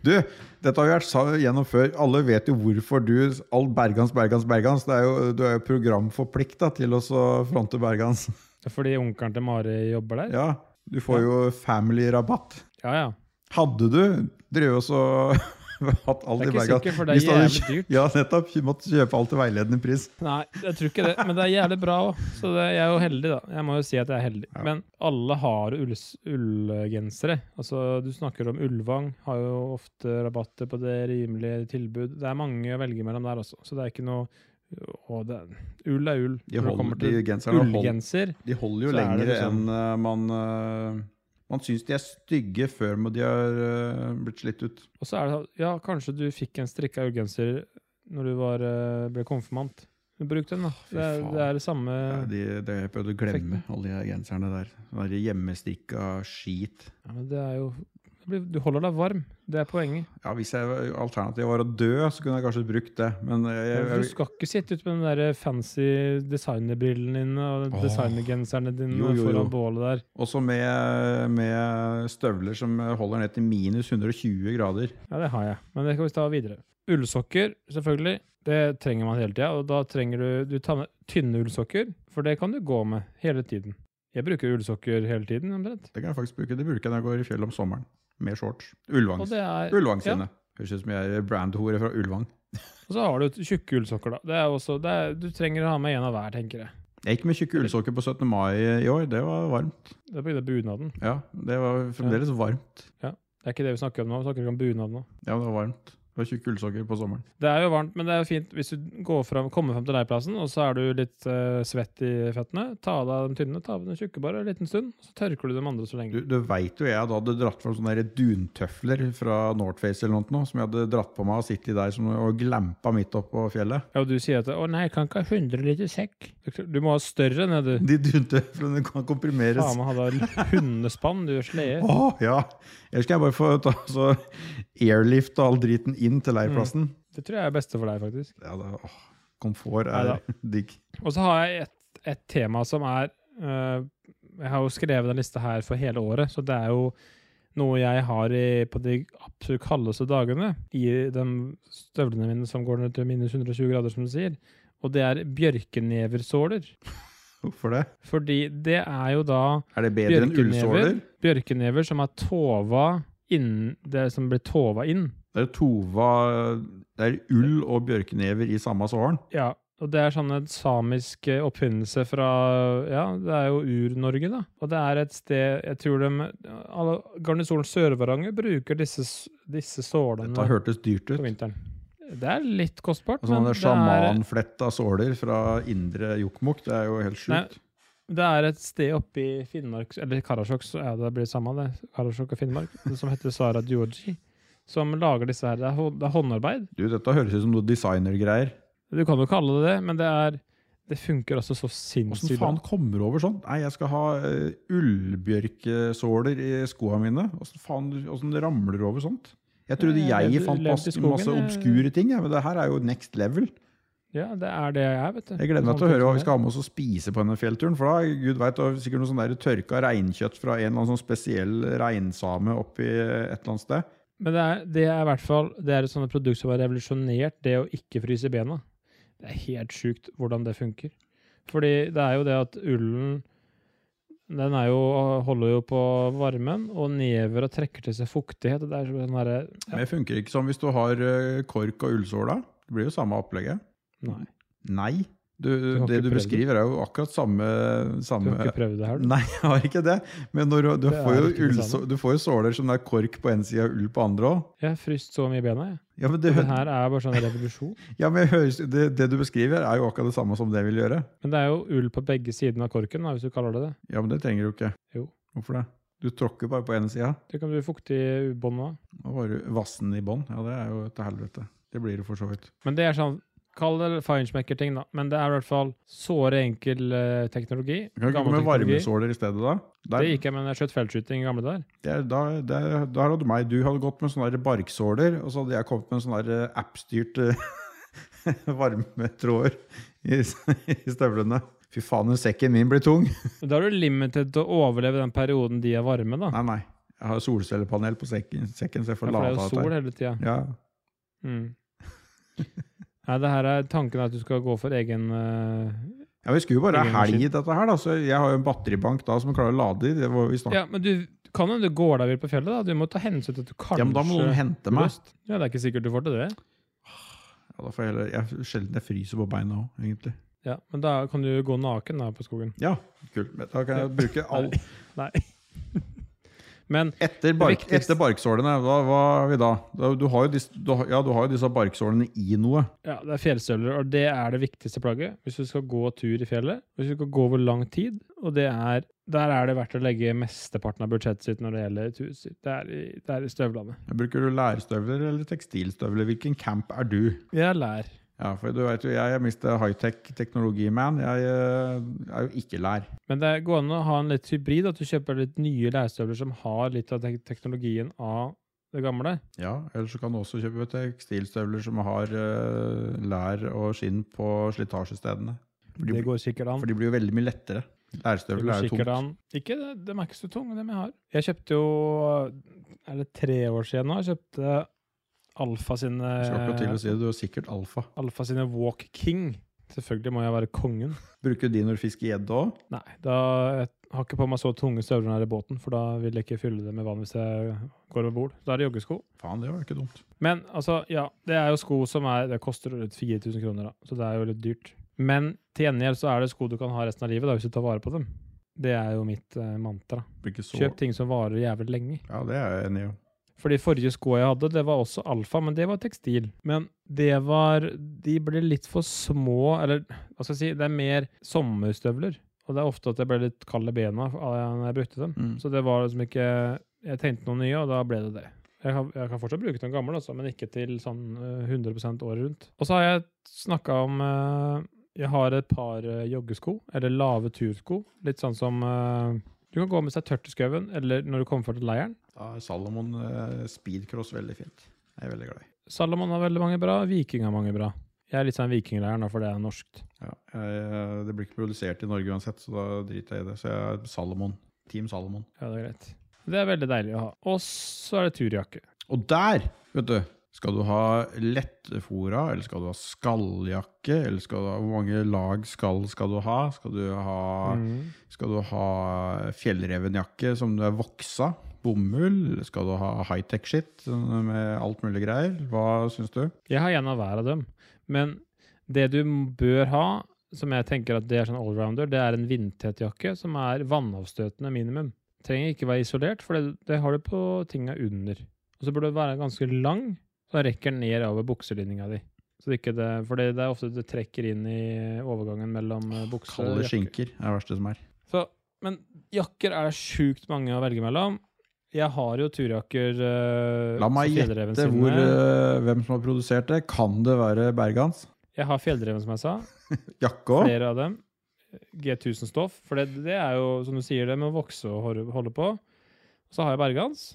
Speaker 1: Du, dette har vi vært sa- gjennom før. Alle vet jo hvorfor du All Bergans, Bergans, Bergans. Det er jo, du er jo programforplikta til å så fronte Bergans.
Speaker 2: Det er fordi onkelen til Mari jobber der?
Speaker 1: Ja, Du får jo family-rabatt.
Speaker 2: Ja ja.
Speaker 1: Hadde du drevet oss og hatt alt
Speaker 2: Det
Speaker 1: i
Speaker 2: er ikke
Speaker 1: Bergans
Speaker 2: sikkert, for det er
Speaker 1: hvis du hadde
Speaker 2: jævlig
Speaker 1: kjø-
Speaker 2: dyrt.
Speaker 1: Ja, nettopp. Du måtte kjøpe alt til veiledende pris.
Speaker 2: Nei, jeg tror ikke det. Men det er jævlig bra òg. Så det, jeg er jo heldig, da. Jeg må jo si at jeg er heldig.
Speaker 1: Ja.
Speaker 2: Men alle har jo ulls- ullgensere. Altså, du snakker om Ulvang. Har jo ofte rabatter på det rimelige tilbud. Det er mange å velge mellom der også. Så det er ikke noe å, det, Ull er ull.
Speaker 1: De,
Speaker 2: Når det
Speaker 1: holder,
Speaker 2: kommer
Speaker 1: de
Speaker 2: til
Speaker 1: genserne holder,
Speaker 2: ullgenser
Speaker 1: de holder jo
Speaker 2: så er det
Speaker 1: lenger
Speaker 2: liksom-
Speaker 1: enn eh, man eh, Man syns de er stygge før de har eh, blitt slitt ut.
Speaker 2: Og så er det sånn, ja, kanskje du fikk en strikka ullgenser når du var, eh, ble konfirmant. Men Bruk den, da.
Speaker 1: Fy
Speaker 2: Det er
Speaker 1: faen.
Speaker 2: det, er det samme
Speaker 1: Ja, de, de, jeg prøvde å glemme alle de genserne der. Sånne der hjemmestrikka skit.
Speaker 2: ja, men Det er jo det blir- Du holder deg varm. Det er poenget.
Speaker 1: Ja, Hvis jeg, alternativet var å dø, så kunne jeg kanskje brukt det. Men jeg, jeg,
Speaker 2: Du skal ikke sitte ut med den der fancy designerbrillene dine og
Speaker 1: Åh.
Speaker 2: designergenserne dine
Speaker 1: Jo, jo, jo.
Speaker 2: foran bålet der.
Speaker 1: også med, med støvler som holder ned til minus 120 grader.
Speaker 2: Ja, det har jeg. Men det skal vi ta videre. Ullsokker, selvfølgelig. Det trenger man hele tida. Og da trenger du Du tar med tynne ullsokker, for det kan du gå med hele tiden. Jeg bruker ullsokker hele tiden, omtrent.
Speaker 1: Det kan jeg faktisk bruke. Det bruker jeg når jeg går i fjellet om sommeren. Med shorts. Ulvang,
Speaker 2: Og det er
Speaker 1: Ulvang
Speaker 2: ja.
Speaker 1: sine. Høres ut som jeg er brandhore fra Ulvang.
Speaker 2: Og så har du tjukke ullsokker, da. Det er også, det er, du trenger å ha med en av hver, tenker jeg.
Speaker 1: Jeg gikk med tjukke ullsokker på 17. mai i år. Det var varmt.
Speaker 2: Det er på grunn av bunaden.
Speaker 1: Ja, Det var fremdeles varmt.
Speaker 2: Det er ikke det vi snakker om nå. Vi snakker ikke om bunad nå.
Speaker 1: Ja, det var varmt. Det var tjukke ullsokker på sommeren.
Speaker 2: Det er jo varmt, men det er jo fint hvis du går fram, kommer fram til leirplassen, og så er du litt eh, svett i føttene. Ta av deg de tynne, ta av deg de tjukke bare en liten stund, og så tørker du de andre så
Speaker 1: Du,
Speaker 2: lenge.
Speaker 1: du veit jo jeg da hadde dratt fram sånne der duntøfler fra Northface eller noe, sånt nå, som jeg hadde dratt på meg og sittet der som, og glampa midt oppå fjellet.
Speaker 2: Ja, og du sier at 'Å nei, jeg kan ikke ha 100 liter sekk'. Du må ha større enn det, du.
Speaker 1: De duntøflene kan komprimeres.
Speaker 2: Faen meg hadde hundespann, du slede.
Speaker 1: Åh, ja! Ellers skal jeg bare få ta så airlift og all driten inn til leirplassen.
Speaker 2: Det tror jeg er det beste for deg, faktisk.
Speaker 1: Ja, da, åh, komfort er
Speaker 2: Neida.
Speaker 1: digg.
Speaker 2: Og så har jeg et, et tema som er Eh, jeg har jo skrevet den lista her for hele året, så det er jo noe jeg har i, på de absolutt kaldeste dagene, i de støvlene mine som går ned til minus 120 grader, som du sier. Og det er bjørkeneversåler.
Speaker 1: Hvorfor det?
Speaker 2: Fordi det er jo da
Speaker 1: Er det bedre enn ullsåler?
Speaker 2: Bjørkenever. bjørkenever som er tova innen det som blir tova inn.
Speaker 1: Det er tova Det er ull og bjørkenever i samme såren.
Speaker 2: Ja, og det er sånn en samisk eh, oppfinnelse fra Ja, det er jo Ur-Norge, da. Og det er et sted Jeg tror de alle, Garnisonen Sør-Varanger bruker disse, s- disse sålene
Speaker 1: Dette
Speaker 2: på
Speaker 1: hørtes dyrt ut.
Speaker 2: vinteren. Det er litt kostbart,
Speaker 1: Og
Speaker 2: men
Speaker 1: Sånne
Speaker 2: det er,
Speaker 1: sjamanfletta såler fra indre Jokkmokk. Det er jo helt sjukt.
Speaker 2: det er et sted oppe i Finnmark Eller Karasjok, så ja, det blir samme det. Karasjok og Finnmark, som heter Sara Djordji, som lager disse her. Det er, hå- det er håndarbeid.
Speaker 1: Du, dette høres ut som noe designergreier.
Speaker 2: Du kan jo kalle det det, men det er det funker altså så
Speaker 1: Åssen
Speaker 2: sinnssykt bra.
Speaker 1: faen kommer du over sånn? Nei, jeg skal ha eh, ullbjørkesåler i skoa mine. Åssen faen hvordan ramler du over sånt? Jeg trodde
Speaker 2: Nei, jeg
Speaker 1: jeg
Speaker 2: levde-
Speaker 1: fant
Speaker 2: levde Eh, i
Speaker 1: masse,
Speaker 2: skogen, eh.
Speaker 1: masse
Speaker 2: jeg.
Speaker 1: obskure ting, jeg, men det her er jo next level.
Speaker 2: Ja, det er det jeg er, vet du.
Speaker 1: Jeg gleder meg
Speaker 2: Sånn
Speaker 1: til å høre hva
Speaker 2: som
Speaker 1: vi skal ha med oss å spise på denne fjellturen. For da, gud vet, det er sikkert noe sånn der tørka reinkjøtt fra en eller annen sånn spesiell reinsame oppi et eller annet sted.
Speaker 2: Men det er, det er i hvert fall det er et sånt produkt som har revolusjonert det å ikke fryse bena. Det er helt sjukt hvordan det funker. Fordi det er jo det at ullen den er jo, holder jo på varmen, og never og trekker til seg fuktighet. og Det er sånn derre ja,
Speaker 1: Men det funker ikke som hvis du har eh, kork og ullsåla. Det blir jo samme opplegget.
Speaker 2: Nei,
Speaker 1: Nei. Du,
Speaker 2: har
Speaker 1: det
Speaker 2: ikke
Speaker 1: du
Speaker 2: prøvd det.
Speaker 1: beskriver, er jo akkurat samme,
Speaker 2: du har
Speaker 1: samme
Speaker 2: ikke prøvd det her, du?
Speaker 1: Nei, jeg har ikke det. Men når, du- du,
Speaker 2: Det er
Speaker 1: får jo
Speaker 2: ikke det
Speaker 1: ullså-
Speaker 2: samme.
Speaker 1: du får jo såler som det er kork på en side og ull på andre òg.
Speaker 2: Jeg har fryst så mye i bena, jeg.
Speaker 1: Ja, men,
Speaker 2: Det
Speaker 1: det,
Speaker 2: her er bare sånn revolusjon.
Speaker 1: ja, men jeg høres- det, det du beskriver, er jo akkurat det samme som det vil gjøre.
Speaker 2: Men det er jo ull på begge sidene av korken, da, hvis du kaller det det.
Speaker 1: Ja, men det trenger du ikke.
Speaker 2: Jo.
Speaker 1: Hvorfor det? Du tråkker bare på ene sida.
Speaker 2: Det kan bli fuktig i bånda.
Speaker 1: Da var du vassen i bånn. Ja, det er jo til helvete. Det blir det for så vidt.
Speaker 2: Men det er sånn Kall det feinschmecker-ting, da. Men det er i hvert fall såre enkel eh, teknologi.
Speaker 1: Kan du ikke komme med varmesåler i stedet, da?
Speaker 2: Det
Speaker 1: Der,
Speaker 2: gikk jeg med når jeg skjøt feltskyting i gamle dager.
Speaker 1: det er, da, der, der hadde du meg. Du hadde gått med sånne der barksåler, og så hadde jeg kommet med sånne der, eh, app-styrt eh, varmetråder i, i støvlene. Fy faen, den sekken min blir tung.
Speaker 2: Og Da er du limited til å overleve den perioden de er varme, da.
Speaker 1: Nei, nei. Jeg har solcellepanel på sekken, sekken så jeg
Speaker 2: Ja,
Speaker 1: får
Speaker 2: for det er
Speaker 1: lade
Speaker 2: jo
Speaker 1: av
Speaker 2: sol
Speaker 1: det.
Speaker 2: hele tida.
Speaker 1: Ja.
Speaker 2: Mm. Nei, det her er tanken er at du skal gå for egen eh,
Speaker 1: ja, Vi skulle jo bare
Speaker 2: Egen
Speaker 1: ha helg
Speaker 2: maskin.
Speaker 1: i dette her, da. Så jeg har jo en batteribank da som klarer å lade i. Det var vi snakket.
Speaker 2: Ja, men du kan jo du går deg vill på fjellet, da. Du må ta hensyn til at du
Speaker 1: Ja.
Speaker 2: kanskje
Speaker 1: men da må noen hente meg.
Speaker 2: Lyst. Ja, det er ikke sikkert du får til det.
Speaker 1: Ja, da får jeg heller, jeg sjelden jeg fryser på beina òg, egentlig.
Speaker 2: Ja, Men da kan du gå naken da på skogen.
Speaker 1: Ja, kult. Men Da kan jeg bruke all
Speaker 2: Nei. men
Speaker 1: Etter, bark,
Speaker 2: viktigste-
Speaker 1: etter barksålene, hva, hva har vi da? Da- Du har, jo disse, du, har, ja, du har jo disse barksålene i noe.
Speaker 2: Ja, det er fjellstøvler, og det er det viktigste plagget hvis du skal gå tur i fjellet. Hvis du skal gå over lang tid, og det er Der er det verdt å legge mesteparten av budsjettet sitt når det gjelder turen sitt. Det er, i- det er i støvlene.
Speaker 1: Bruker du lærstøvler eller tekstilstøvler? Hvilken camp er du?
Speaker 2: Jeg lær.
Speaker 1: Ja, for du vet jo, Jeg er Mr. high-tech-teknologiman. Jeg eh, er jo ikke lær.
Speaker 2: Men det går an å ha en litt hybrid, at du kjøper litt nye lærstøvler som har litt av tek teknologien av det gamle.
Speaker 1: Ja, Eller så kan du også kjøpe tekstilstøvler som har eh, lær og skinn på slitasjestedene. For de,
Speaker 2: Det går sikkert an.
Speaker 1: for de blir jo veldig mye lettere.
Speaker 2: Det
Speaker 1: Lærstøvler
Speaker 2: går
Speaker 1: er jo
Speaker 2: sikkert
Speaker 1: tungt.
Speaker 2: an. Ikke, det, de er ikke så tunge, dem jeg har. Jeg kjøpte jo Er det tre år siden nå? Jeg kjøpte Alfa sine
Speaker 1: Jeg Skal ikke
Speaker 2: Eh,
Speaker 1: til å si det, du er sikkert alfa.
Speaker 2: Alfa sine Walk King. Selvfølgelig må jeg være kongen.
Speaker 1: Bruker du de når du fisker gjedde òg?
Speaker 2: Nei, da jeg har ikke på meg så tunge støvler her i båten, for da vil jeg ikke fylle det med vann hvis jeg går over bord. Da er det joggesko.
Speaker 1: Faen, det var ikke dumt.
Speaker 2: Men altså, ja, det er jo sko som er Det koster rundt 4000 kroner, da, så det er jo litt dyrt. Men til gjengjeld så er det sko du kan ha resten av livet, da, hvis du tar vare på dem. Det er jo mitt eh, mantra.
Speaker 1: Det blir ikke så...
Speaker 2: Kjøp ting som varer jævlig lenge.
Speaker 1: Ja, det er jeg enig i.
Speaker 2: For de forrige skoa jeg hadde, det var også alfa, men det var tekstil. Men det var De ble litt for små, eller hva skal jeg si, det er mer sommerstøvler. Og det er ofte at jeg ble litt kald i bena av- når jeg brukte dem.
Speaker 1: Mm.
Speaker 2: Så det var liksom ikke Jeg tenkte noen nye, og da ble det det. Jeg kan, jeg kan fortsatt bruke den gamle, altså, men ikke til sånn eh, 100 året rundt. Og så har jeg snakka om eh, Jeg har et par eh, joggesko, eller lave tursko. Litt sånn som eh, Du kan gå med seg tørt i skauen, eller når du kommer fra til leiren.
Speaker 1: Da er Salomon eh, speedcross veldig fint. Jeg er veldig glad i.
Speaker 2: Salomon har veldig mange bra, Viking har mange bra. Jeg er litt sånn vikingleier nå, for det er norskt.
Speaker 1: Ja, jeg, det blir ikke produsert i Norge uansett, så da driter jeg i det. Så jeg er Salomon. Team Salomon.
Speaker 2: Ja, det er greit. Det er veldig deilig å ha. Og så er det turjakke.
Speaker 1: Og der, vet du, skal du ha lettfora, eller skal du ha skalljakke, eller skal du ha, hvor mange lag skall skal du ha? Skal du ha,
Speaker 2: Mm.
Speaker 1: skal du ha fjellrevenjakke som du er voksa? Bomull? Eller Skal du ha high-tech shit sånn med alt mulig greier? Hva syns du?
Speaker 2: Jeg har en av hver av dem. Men det du m- bør ha, som jeg tenker at det er sånn allrounder, det er en vindtett jakke som er vannavstøtende minimum. Trenger ikke være isolert, for det, det har du på tinga under. Og så burde det være ganske lang, så den rekker ned over bukselinninga di. Så det ikke det, for det, det er ofte det trekker inn i overgangen mellom eh, bukse og
Speaker 1: Kalde
Speaker 2: jakke.
Speaker 1: skinker er det verste som er.
Speaker 2: Så, men jakker er det sjukt mange å velge mellom. Jeg har jo turjakker eh,
Speaker 1: La meg
Speaker 2: som Fjellreven
Speaker 1: gjette
Speaker 2: sine.
Speaker 1: hvor, eh, hvem som har produsert det. Kan det være Bergans?
Speaker 2: Jeg har Fjellreven, som jeg sa.
Speaker 1: Jakke òg?
Speaker 2: Flere av dem. G1000-stoff. For det, det er jo, som du sier, det med å vokse og hor- holde på. Så har jeg Bergans.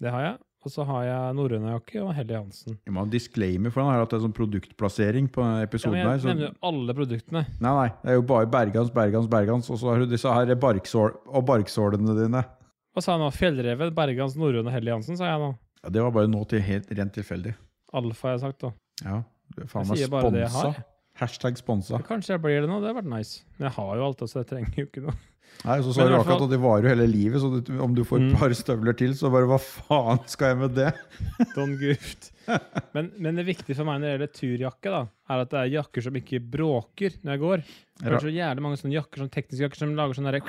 Speaker 2: Det har jeg. Og så har jeg norrøne jakke og Helly Hansen.
Speaker 1: Jeg må ha en disclaimer for den her at det er sånn produktplassering på denne
Speaker 2: Ja,
Speaker 1: episoden.
Speaker 2: men jeg nevner
Speaker 1: her,
Speaker 2: jo alle produktene.
Speaker 1: så, nei, nei, det er jo bare Bergans, Bergans, Bergans, og så har du disse her barksål, og barksålene dine.
Speaker 2: Hva sa jeg nå? Fjellreven, Bergans, norrøne og Helly Hansen, sa jeg nå.
Speaker 1: Ja, det var bare nå til helt rent tilfeldig.
Speaker 2: Alfa har jeg sagt, da.
Speaker 1: Ja, det er faen
Speaker 2: Jeg
Speaker 1: meg
Speaker 2: sier bare det jeg
Speaker 1: sponsa.
Speaker 2: har.
Speaker 1: Hashtag sponsa.
Speaker 2: Kanskje jeg blir det nå. Det hadde vært nice. Men jeg har jo alt, så jeg trenger jo ikke noe.
Speaker 1: Nei, så
Speaker 2: Men
Speaker 1: sa
Speaker 2: i
Speaker 1: du
Speaker 2: hvert
Speaker 1: akkurat
Speaker 2: fall-
Speaker 1: at det varer jo hele livet, så du, om du får et
Speaker 2: Mm.
Speaker 1: par støvler til, så bare hva faen skal jeg med det?
Speaker 2: Don Guft. Men, men det viktige for meg når det gjelder turjakke, da, er at det er jakker som ikke bråker når jeg går. Det
Speaker 1: Ja.
Speaker 2: er så jævlig mange sånne jakker, sånne tekniske jakker som lager sånn derre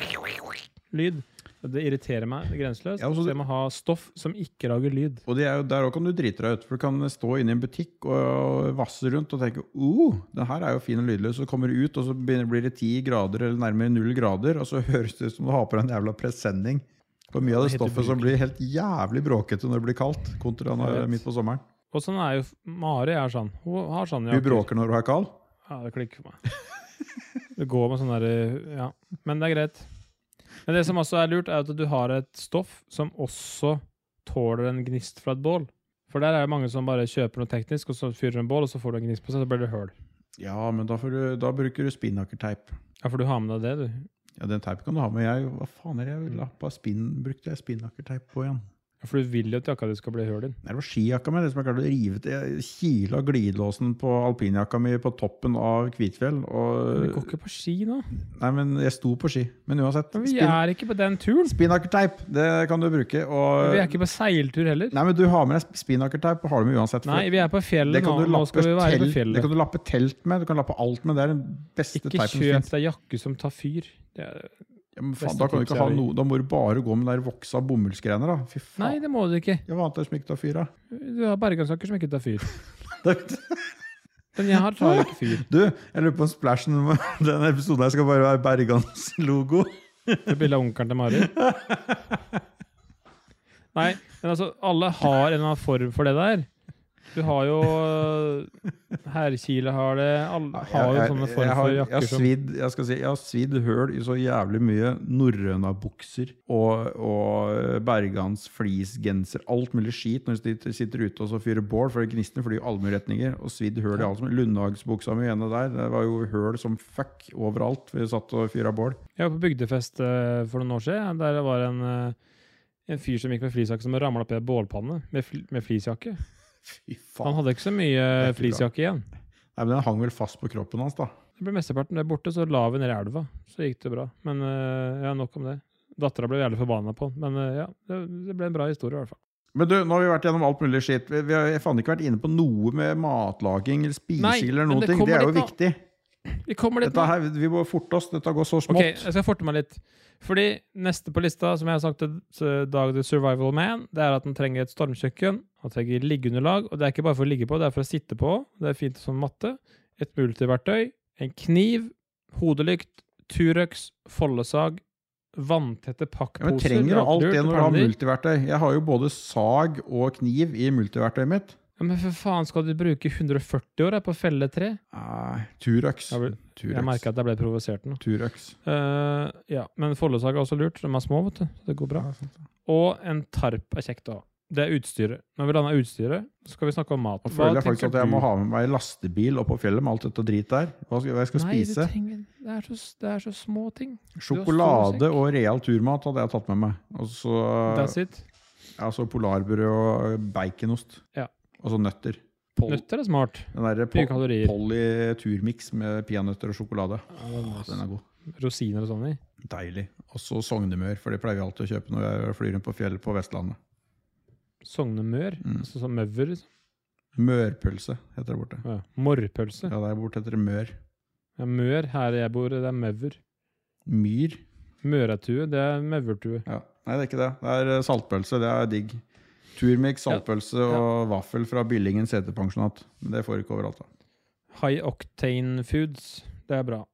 Speaker 2: lyd. Og Det irriterer meg grenseløst.
Speaker 1: Ja, altså og så-
Speaker 2: så jeg må ha stoff som ikke lager lyd.
Speaker 1: Og det er jo, der òg kan du drite deg ut, for du kan stå inne i en butikk og vasse rundt og tenke oh, den her er jo fin og lydløs, så kommer du ut, og så begynner, blir det ti grader eller nærmere null grader, og så høres det ut som du har på deg en jævla presenning. For mye av det
Speaker 2: Det er helt
Speaker 1: stoffet som blir helt jævlig bråkete når det blir kaldt, kontra når det
Speaker 2: Jeg
Speaker 1: er
Speaker 2: vet.
Speaker 1: midt på sommeren.
Speaker 2: Og sånn er jo Mari er sånn. Hun har sånne
Speaker 1: Du bråker når du er kald.
Speaker 2: Ja, det klikker for meg. Det går med sånn derre Ja. Men det er greit. Men det som også er lurt, er at du har et stoff som også tåler en gnist fra et bål. For der er det mange som bare kjøper noe teknisk, og så fyrer du en bål, og så får du en gnist på seg, så blir det høl.
Speaker 1: Ja, men da, får du, da bruker du spinnakerteip.
Speaker 2: Ja, for du har med deg det, du.
Speaker 1: Ja, den teipen kan du ha med. Jeg, hva faen er det jeg ville ha på spinn? Brukte jeg spinnakerteip på igjen?
Speaker 2: Ja, for du vil jo at jakka di skal bli høl inn.
Speaker 1: Nei, Det var skijakka mi det som jeg klarte å rive til. Jeg kila glidelåsen på alpinjakka mi på toppen av Kvitfjell.
Speaker 2: Men Vi
Speaker 1: Og,
Speaker 2: går ikke på ski nå.
Speaker 1: nei, men jeg sto på ski. Men uansett.
Speaker 2: Men vi
Speaker 1: spin-
Speaker 2: er ikke på den turen.
Speaker 1: Spinnakerteip, det kan du bruke. Og,
Speaker 2: Vi er ikke på seiltur heller.
Speaker 1: Nei, men du har med deg spinnakerteip, og har det med uansett. for
Speaker 2: Nei, vi er på
Speaker 1: det
Speaker 2: fjellet nå.
Speaker 1: kan, du
Speaker 2: Nå
Speaker 1: lappe
Speaker 2: skal vi være på
Speaker 1: telt, det
Speaker 2: fjellet.
Speaker 1: kan du lappe telt med, du kan lappe alt med. Det er den beste
Speaker 2: Ikke
Speaker 1: teipen som finnes.
Speaker 2: kjøp deg jakke som tar fyr. Det er,
Speaker 1: Ja, men faen,
Speaker 2: Beste
Speaker 1: da, kan du ikke
Speaker 2: tipset
Speaker 1: ha
Speaker 2: er å-
Speaker 1: noe, da må du bare gå med den der voksa bomullsgreiene, da. Fy
Speaker 2: nei,
Speaker 1: faen.
Speaker 2: det må du ikke.
Speaker 1: Jeg var vant til å smykke av fyra.
Speaker 2: Du har bergansjakker som ikke tar fyr. Den jeg har, tar jo ikke fyr.
Speaker 1: Du, jeg lurer på om splashen denne episoden her skal bare være Bergans logo.
Speaker 2: Det er bilde av onkelen til Mari. Nei, men altså, alle har en eller annen form for det der. Du har jo øh, Herkile har det. Alle har jo sånne form
Speaker 1: jeg har-
Speaker 2: for
Speaker 1: jeg har
Speaker 2: jakker som
Speaker 1: svidd, jeg skal si, jeg har svidd høl i så jævlig mye norrøna bukser og, og Bergans fleecegenser. Alt mulig skit når de sitter- sitter ute og så fyrer bål, for gnistene flyr i alle mulige retninger. Og svidd høl i alt som Lundhagsbuksa mi ene der, det var jo høl som fuck overalt. Vi satt og fyra bål.
Speaker 2: Jeg var på bygdefest eh, for noen år siden. Der det var en, eh, en fyr som gikk med flisjakke som ramla opp i en bålpanne med, fl med flisjakke.
Speaker 1: Fy
Speaker 2: Han
Speaker 1: faen.
Speaker 2: hadde ikke så mye
Speaker 1: Det er ikke bra.
Speaker 2: flisjakke igjen.
Speaker 1: Nei, men den hang vel fast på kroppen hans, da.
Speaker 2: Det ble mesteparten der borte, så la vi ned i elva. Så gikk det bra. Men eh, ja, nok om det. Dattera ble jævlig forbanna på den. Men eh, ja, det, det ble en bra historie i hvert fall.
Speaker 1: Men du, nå har vi vært gjennom alt mulig skitt. Vi, vi har jeg faen ikke vært inne på noe med matlaging eller spising
Speaker 2: Nei,
Speaker 1: eller
Speaker 2: men
Speaker 1: noen
Speaker 2: det
Speaker 1: ting. Det er jo
Speaker 2: kommer litt
Speaker 1: viktig.
Speaker 2: Vi kommer litt
Speaker 1: Dette her, vi må forte oss. Dette går så smått.
Speaker 2: Ok, eh, jeg skal forte meg litt. Fordi neste på lista, som jeg har sagt til Dag the Survival Man, det er at han trenger et stormkjøkken. Han trenger liggeunderlag, og det er ikke bare for å ligge på, det er for å sitte på. Det er fint som matte. Et multiverktøy, en kniv, hodelykt, Turøx, foldesag, vanntette
Speaker 1: Ja, men
Speaker 2: pakkposer
Speaker 1: trenger du alt
Speaker 2: rakelurt
Speaker 1: det
Speaker 2: og
Speaker 1: når du har
Speaker 2: perler.
Speaker 1: multiverktøy? Jeg har jo både sag og kniv i multiverktøyet mitt.
Speaker 2: Ja, men for faen, skal du bruke 140 år da, på å felle et tre?
Speaker 1: Nei, Turøx.
Speaker 2: Jeg vil- Jeg
Speaker 1: Turøx.
Speaker 2: merker at jeg ble provosert nå.
Speaker 1: Turøx.
Speaker 2: Eh, ja, men foldesag er også lurt. De er små, vet du. Så det går bra.
Speaker 1: Ja, sant det.
Speaker 2: Og en tarp er kjekt å ha. Det er utstyret. Når vi lander utstyret, så skal vi snakke om mat.
Speaker 1: Nå føler jeg
Speaker 2: Hva
Speaker 1: faktisk
Speaker 2: tenker
Speaker 1: at jeg
Speaker 2: du?
Speaker 1: må ha med meg lastebil opp på fjellet med alt dette drit der. Hva skal hva jeg skal
Speaker 2: Nei, du
Speaker 1: spise?
Speaker 2: trenger- det, er så, det er så små ting.
Speaker 1: Sjokolade
Speaker 2: sekk.
Speaker 1: og real turmat hadde jeg tatt med meg. Og så
Speaker 2: That's it.
Speaker 1: altså polarbrød og baconost.
Speaker 2: Ja.
Speaker 1: Og så nøtter. Pol,
Speaker 2: Nøtter er smart.
Speaker 1: den derre po-
Speaker 2: Mye kalorier.
Speaker 1: Polly turmix med peanøtter og sjokolade. Åh, Den
Speaker 2: Åh,
Speaker 1: er god.
Speaker 2: Rosiner og sånn i.
Speaker 1: Deilig. Og så Sognemør, for det pleier vi alltid å kjøpe når jeg flyr rundt på fjellet på Vestlandet.
Speaker 2: Sognemør.
Speaker 1: Mm.
Speaker 2: Altså sånn møver. Liksom.
Speaker 1: Mørpølse heter det borte.
Speaker 2: Ja. Morrpølse.
Speaker 1: Ja, der borte heter det mør.
Speaker 2: Ja, mør her jeg bor, det er møver.
Speaker 1: Myr.
Speaker 2: Møratue, det er møvertue.
Speaker 1: Ja. Nei, det er ikke det. Det er eh, saltpølse. Det er digg. Turmix, saltpølse
Speaker 2: Ja.
Speaker 1: og vaffel fra Billingen setepensjonat. Men det får du ikke overalt. da.
Speaker 2: High octane foods, det er bra.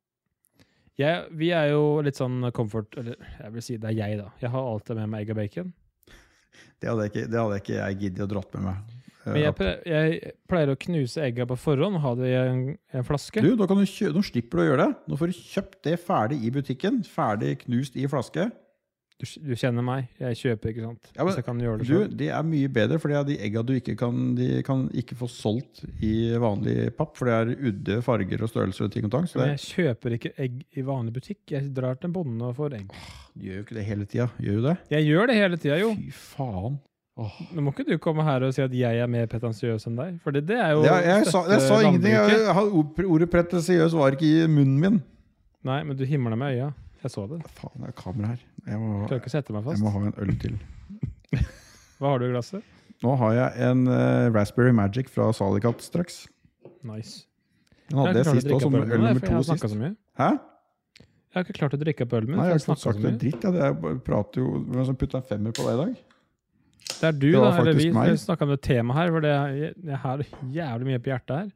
Speaker 2: Jeg, vi er jo litt sånn comfort Eller jeg vil si det er jeg, da. Jeg har alltid med meg egg og bacon.
Speaker 1: Det hadde jeg ikke, det hadde jeg, ikke jeg giddet å dratt med meg. Eh,
Speaker 2: Men jeg, ple- jeg pleier å knuse egga på forhånd og ha det i en, en flaske.
Speaker 1: Du, da kan du kjø Nå slipper du å gjøre det. Nå får du kjøpt det ferdig i butikken. Ferdig knust i flaske.
Speaker 2: Du, du kjenner meg, jeg kjøper, ikke sant?
Speaker 1: Ja, men
Speaker 2: Hvis jeg kan gjøre det
Speaker 1: Du,
Speaker 2: selv.
Speaker 1: det er mye bedre, for det er de egga du ikke kan, de kan ikke få solgt i vanlig papp. For det er udde farger og størrelser og ting og tang. Så det
Speaker 2: Men jeg kjøper ikke egg i vanlig butikk. Jeg drar til en bonde og får egg.
Speaker 1: gjør jo ikke det hele tida. Gjør jo det?
Speaker 2: Jeg gjør det hele tida, jo.
Speaker 1: Fy faen. Åh.
Speaker 2: Nå må ikke du komme her og si at jeg er mer pretensiøs enn deg. For det, det er jo
Speaker 1: Ja, jeg, sa, jeg sa
Speaker 2: støtte
Speaker 1: ingenting. Jeg,
Speaker 2: landbruket.
Speaker 1: jeg, hadde ord- ordet pretensiøs var ikke i munnen min.
Speaker 2: Nei, men du himla med øya. Jeg så det.
Speaker 1: Faen, det er kamera her. Jeg må,
Speaker 2: Klarer ikke å sette meg
Speaker 1: jeg må
Speaker 2: fast.
Speaker 1: ha en øl til.
Speaker 2: Hva har du i glasset?
Speaker 1: Nå har jeg en eh, Raspberry Magic fra Salicat straks.
Speaker 2: Nice.
Speaker 1: Den hadde jeg
Speaker 2: Jeg har ikke klart å
Speaker 1: sist
Speaker 2: drikke
Speaker 1: òg, som
Speaker 2: opp ølen
Speaker 1: øl
Speaker 2: min,
Speaker 1: nummer
Speaker 2: for jeg
Speaker 1: to
Speaker 2: har snakket
Speaker 1: sist.
Speaker 2: så mye.
Speaker 1: Hæ?
Speaker 2: Jeg har ikke klart å drikke opp ølen min.
Speaker 1: Nei, jeg har
Speaker 2: for jeg
Speaker 1: ikke fått sagt
Speaker 2: snakket så
Speaker 1: noe
Speaker 2: mye.
Speaker 1: dritt. Jeg, jeg bare prater jo Hvem som putta en femmer på deg i dag?
Speaker 2: Det er du,
Speaker 1: Det
Speaker 2: da,
Speaker 1: var
Speaker 2: eller
Speaker 1: faktisk
Speaker 2: vi.
Speaker 1: meg.
Speaker 2: Vi snakka om det temaet her, for det er, jeg, jeg har jævlig mye på hjertet her.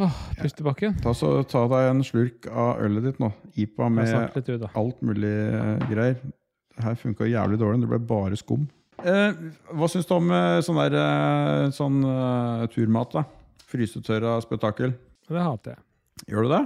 Speaker 2: Åh, pustebakken.
Speaker 1: Ta, så, ta deg en slurk av ølet ditt nå. IPA
Speaker 2: Jeg har
Speaker 1: med
Speaker 2: snakket litt ut, da.
Speaker 1: alt mulig eh, greier. Det her funka jævlig dårlig. Det ble bare skum. Eh, hva syns du om eh, sånn der eh, sånn eh, turmat, da? Frysetørra spetakkel.
Speaker 2: Og Det hater jeg.
Speaker 1: Gjør du det?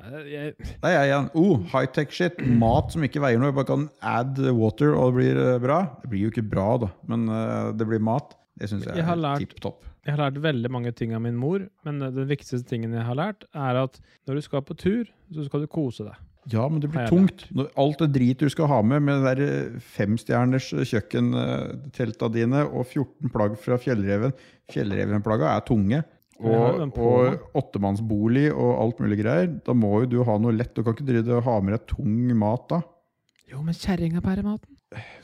Speaker 2: Ja, jeg.
Speaker 1: Nei, jeg igjen. Oh, high-tech shit. Mat som ikke veier noe. Jeg bare kan add water, og det blir eh, bra. Det blir jo ikke bra, da, men eh, det blir mat. Det syns jeg,
Speaker 2: Jeg har
Speaker 1: er
Speaker 2: lært-
Speaker 1: tipp topp.
Speaker 2: Jeg har lært veldig mange ting av min mor, men den viktigste tingen jeg har lært, er at når du skal på tur, så skal du kose deg.
Speaker 1: Ja, men det blir
Speaker 2: Har jeg
Speaker 1: tungt. Når alt det dritet du skal ha med, med det der eh, femstjerners eh, kjøkkentelta dine og 14 plagg fra Fjellreven Fjellrevenplagga er tunge.
Speaker 2: Jeg har jo
Speaker 1: Og,
Speaker 2: den på meg.
Speaker 1: og åttemannsbolig og alt mulig greier. Da må jo du ha noe lett. Du kan ikke drive og ha med deg tung mat da.
Speaker 2: Jo, men kjerringa bærer maten.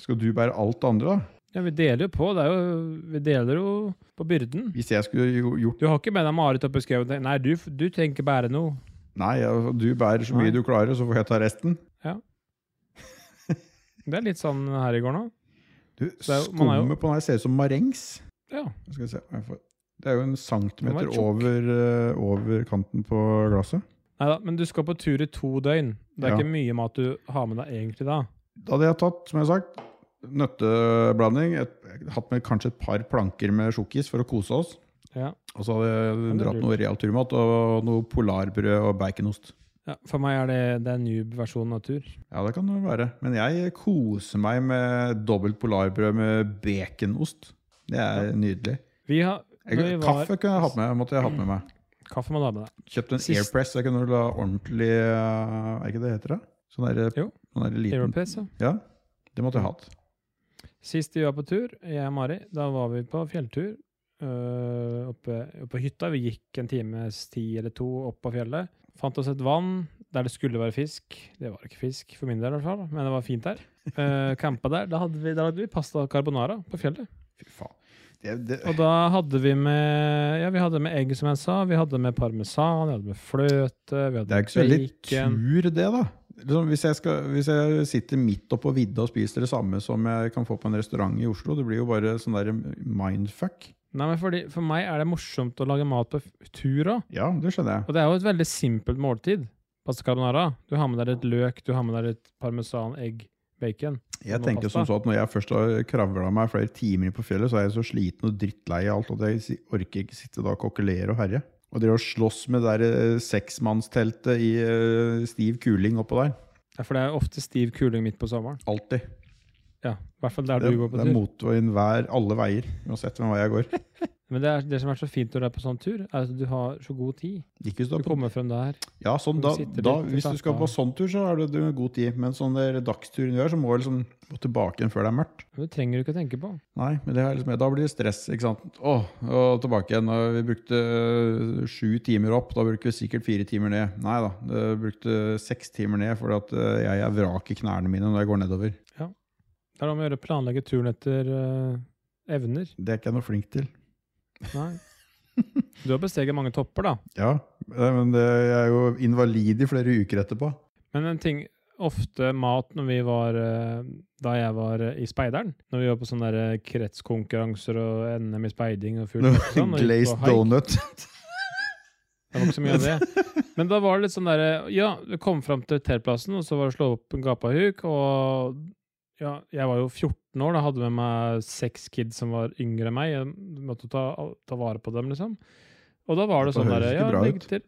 Speaker 1: Skal du bære alt det andre, da?
Speaker 2: Ja, vi deler jo på. Det er jo, vi deler jo på byrden.
Speaker 1: Hvis jeg skulle jo gjort
Speaker 2: Du har ikke med deg Marit opp i skauen? Nei, du, du tenker bære noe.
Speaker 1: Nei, altså, du bærer så mye
Speaker 2: Nei.
Speaker 1: du klarer, så får jeg ta resten.
Speaker 2: Det er litt sånn her i går nå.
Speaker 1: Du,
Speaker 2: Så det er jo- man er jo-
Speaker 1: Skummet på den her ser ut som marengs.
Speaker 2: Ja.
Speaker 1: Skal vi se. om jeg får- Det er jo en centimeter
Speaker 2: Den var tjukk.
Speaker 1: over, eh, over kanten på glasset.
Speaker 2: Nei da, men du skal på tur i to døgn. Det er
Speaker 1: Ja.
Speaker 2: ikke mye mat du har med deg egentlig da.
Speaker 1: Da hadde jeg tatt, som jeg har sagt, nøtteblanding. Et, hatt med kanskje et par planker med sjokkis for å kose oss.
Speaker 2: Ja.
Speaker 1: Og så hadde jeg
Speaker 2: det er
Speaker 1: dratt
Speaker 2: lurt.
Speaker 1: noe real turmat og noe polarbrød og baconost.
Speaker 2: Ja, for meg er det, det er noob-versjonen av tur.
Speaker 1: Ja, det kan det være. Men jeg koser meg med dobbelt polarbrød med baconost. Det er nydelig.
Speaker 2: Vi har,
Speaker 1: Jeg,
Speaker 2: når vi var,
Speaker 1: kaffe kunne jeg hatt med, måtte jeg hatt med meg.
Speaker 2: Kaffe må du ha med deg.
Speaker 1: Kjøpt en
Speaker 2: Sist-
Speaker 1: airpress. Jeg kunne la ordentlig eh, Er ikke det det heter? da? Sånn der,
Speaker 2: Jo.
Speaker 1: sånn der liten
Speaker 2: Europace, ja.
Speaker 1: Ja, det måtte jeg hatt.
Speaker 2: Sist vi var på tur, jeg og Mari, da var vi på fjelltur øh, oppe, oppe på hytta. Vi gikk en times tid eller to opp på fjellet. Fant oss et vann der det skulle være fisk. Det var ikke fisk for min del, i hvert fall, men det var fint der. Uh, campa der. Da hadde, vi, da hadde vi pasta carbonara på fjellet.
Speaker 1: Fy faen. Det, det,
Speaker 2: Og da hadde vi med ja, vi hadde med egg, som jeg sa. Vi hadde med parmesan, vi hadde med fløte, vi hadde
Speaker 1: Det er ikke så
Speaker 2: med
Speaker 1: veldig
Speaker 2: bacon.
Speaker 1: tur, det, da. Liksom, hvis, jeg skal, hvis jeg sitter midt oppå vidda og spiser det samme som jeg kan få på en restaurant i Oslo, det blir jo bare sånn der mindfuck.
Speaker 2: Nei, men fordi, For meg er det morsomt å lage mat på f- tur òg.
Speaker 1: Ja, det skjønner jeg.
Speaker 2: Og det er jo et veldig simpelt måltid. Pasta carbonara. Du har med deg litt løk, du har med deg litt parmesan, egg, bacon.
Speaker 1: Jeg
Speaker 2: Nå
Speaker 1: tenker
Speaker 2: pasta.
Speaker 1: som så at Når jeg først har kravla meg flere timer på fjellet, så er jeg så sliten og drittlei av alt at jeg si- orker ikke sitte da og kokkelere og herje. Og det å slåss med det der eh, seksmannsteltet i eh, stiv kuling oppå der.
Speaker 2: Ja, for det er ofte stiv kuling midt på sommeren.
Speaker 1: Alltid.
Speaker 2: Ja, i hvert fall der
Speaker 1: Det,
Speaker 2: du går på
Speaker 1: det er
Speaker 2: tur.
Speaker 1: motvind hver, alle veier, uansett hvem vei jeg går.
Speaker 2: Men det, er, det som er så fint når du er på sånn tur, er at du har så god tid.
Speaker 1: Ikke
Speaker 2: Du
Speaker 1: stopp.
Speaker 2: kommer frem der.
Speaker 1: Ja, sånn, da,
Speaker 2: Hvor du sitter
Speaker 1: da,
Speaker 2: litt, liksom.
Speaker 1: hvis du
Speaker 2: slapp
Speaker 1: skal på
Speaker 2: av.
Speaker 1: sånn tur, så har du du god tid. Men sånn der dagsturen du gjør, så må du liksom gå tilbake igjen før det er mørkt.
Speaker 2: Men det trenger du ikke å tenke på.
Speaker 1: Nei, men det er liksom, da blir det stress. ikke sant? Åh, og tilbake igjen. og Vi brukte øh, sju timer opp. Da bruker vi sikkert fire timer ned. Nei da, vi brukte seks timer ned fordi at øh, jeg er vrak i knærne mine når jeg går nedover.
Speaker 2: Det er om å gjøre å planlegge turen etter eh, evner.
Speaker 1: Det er ikke jeg noe flink til.
Speaker 2: Nei. Du har besteget mange topper, da.
Speaker 1: Ja, eh, men det, jeg er jo invalid i flere uker etterpå.
Speaker 2: Men en ting Ofte mat når vi var eh, Da jeg var eh, i Speideren. Når vi var på sånne der eh, kretskonkurranser og NM i speiding og fullt sånn. og gikk på
Speaker 1: Glazed
Speaker 2: hike.
Speaker 1: donut.
Speaker 2: Det var ikke så mye av det. Men da var det litt sånn derre Ja, du kom fram til teltplassen, og så var det å slå opp en gapahuk, og ja, jeg var jo 14 år, da hadde med meg seks kids som var yngre enn meg. Jeg måtte ta, ta vare på dem, liksom. Og da var det
Speaker 1: Dette
Speaker 2: sånn
Speaker 1: høres
Speaker 2: derre
Speaker 1: ikke
Speaker 2: ja,
Speaker 1: bra
Speaker 2: legg
Speaker 1: ut.
Speaker 2: til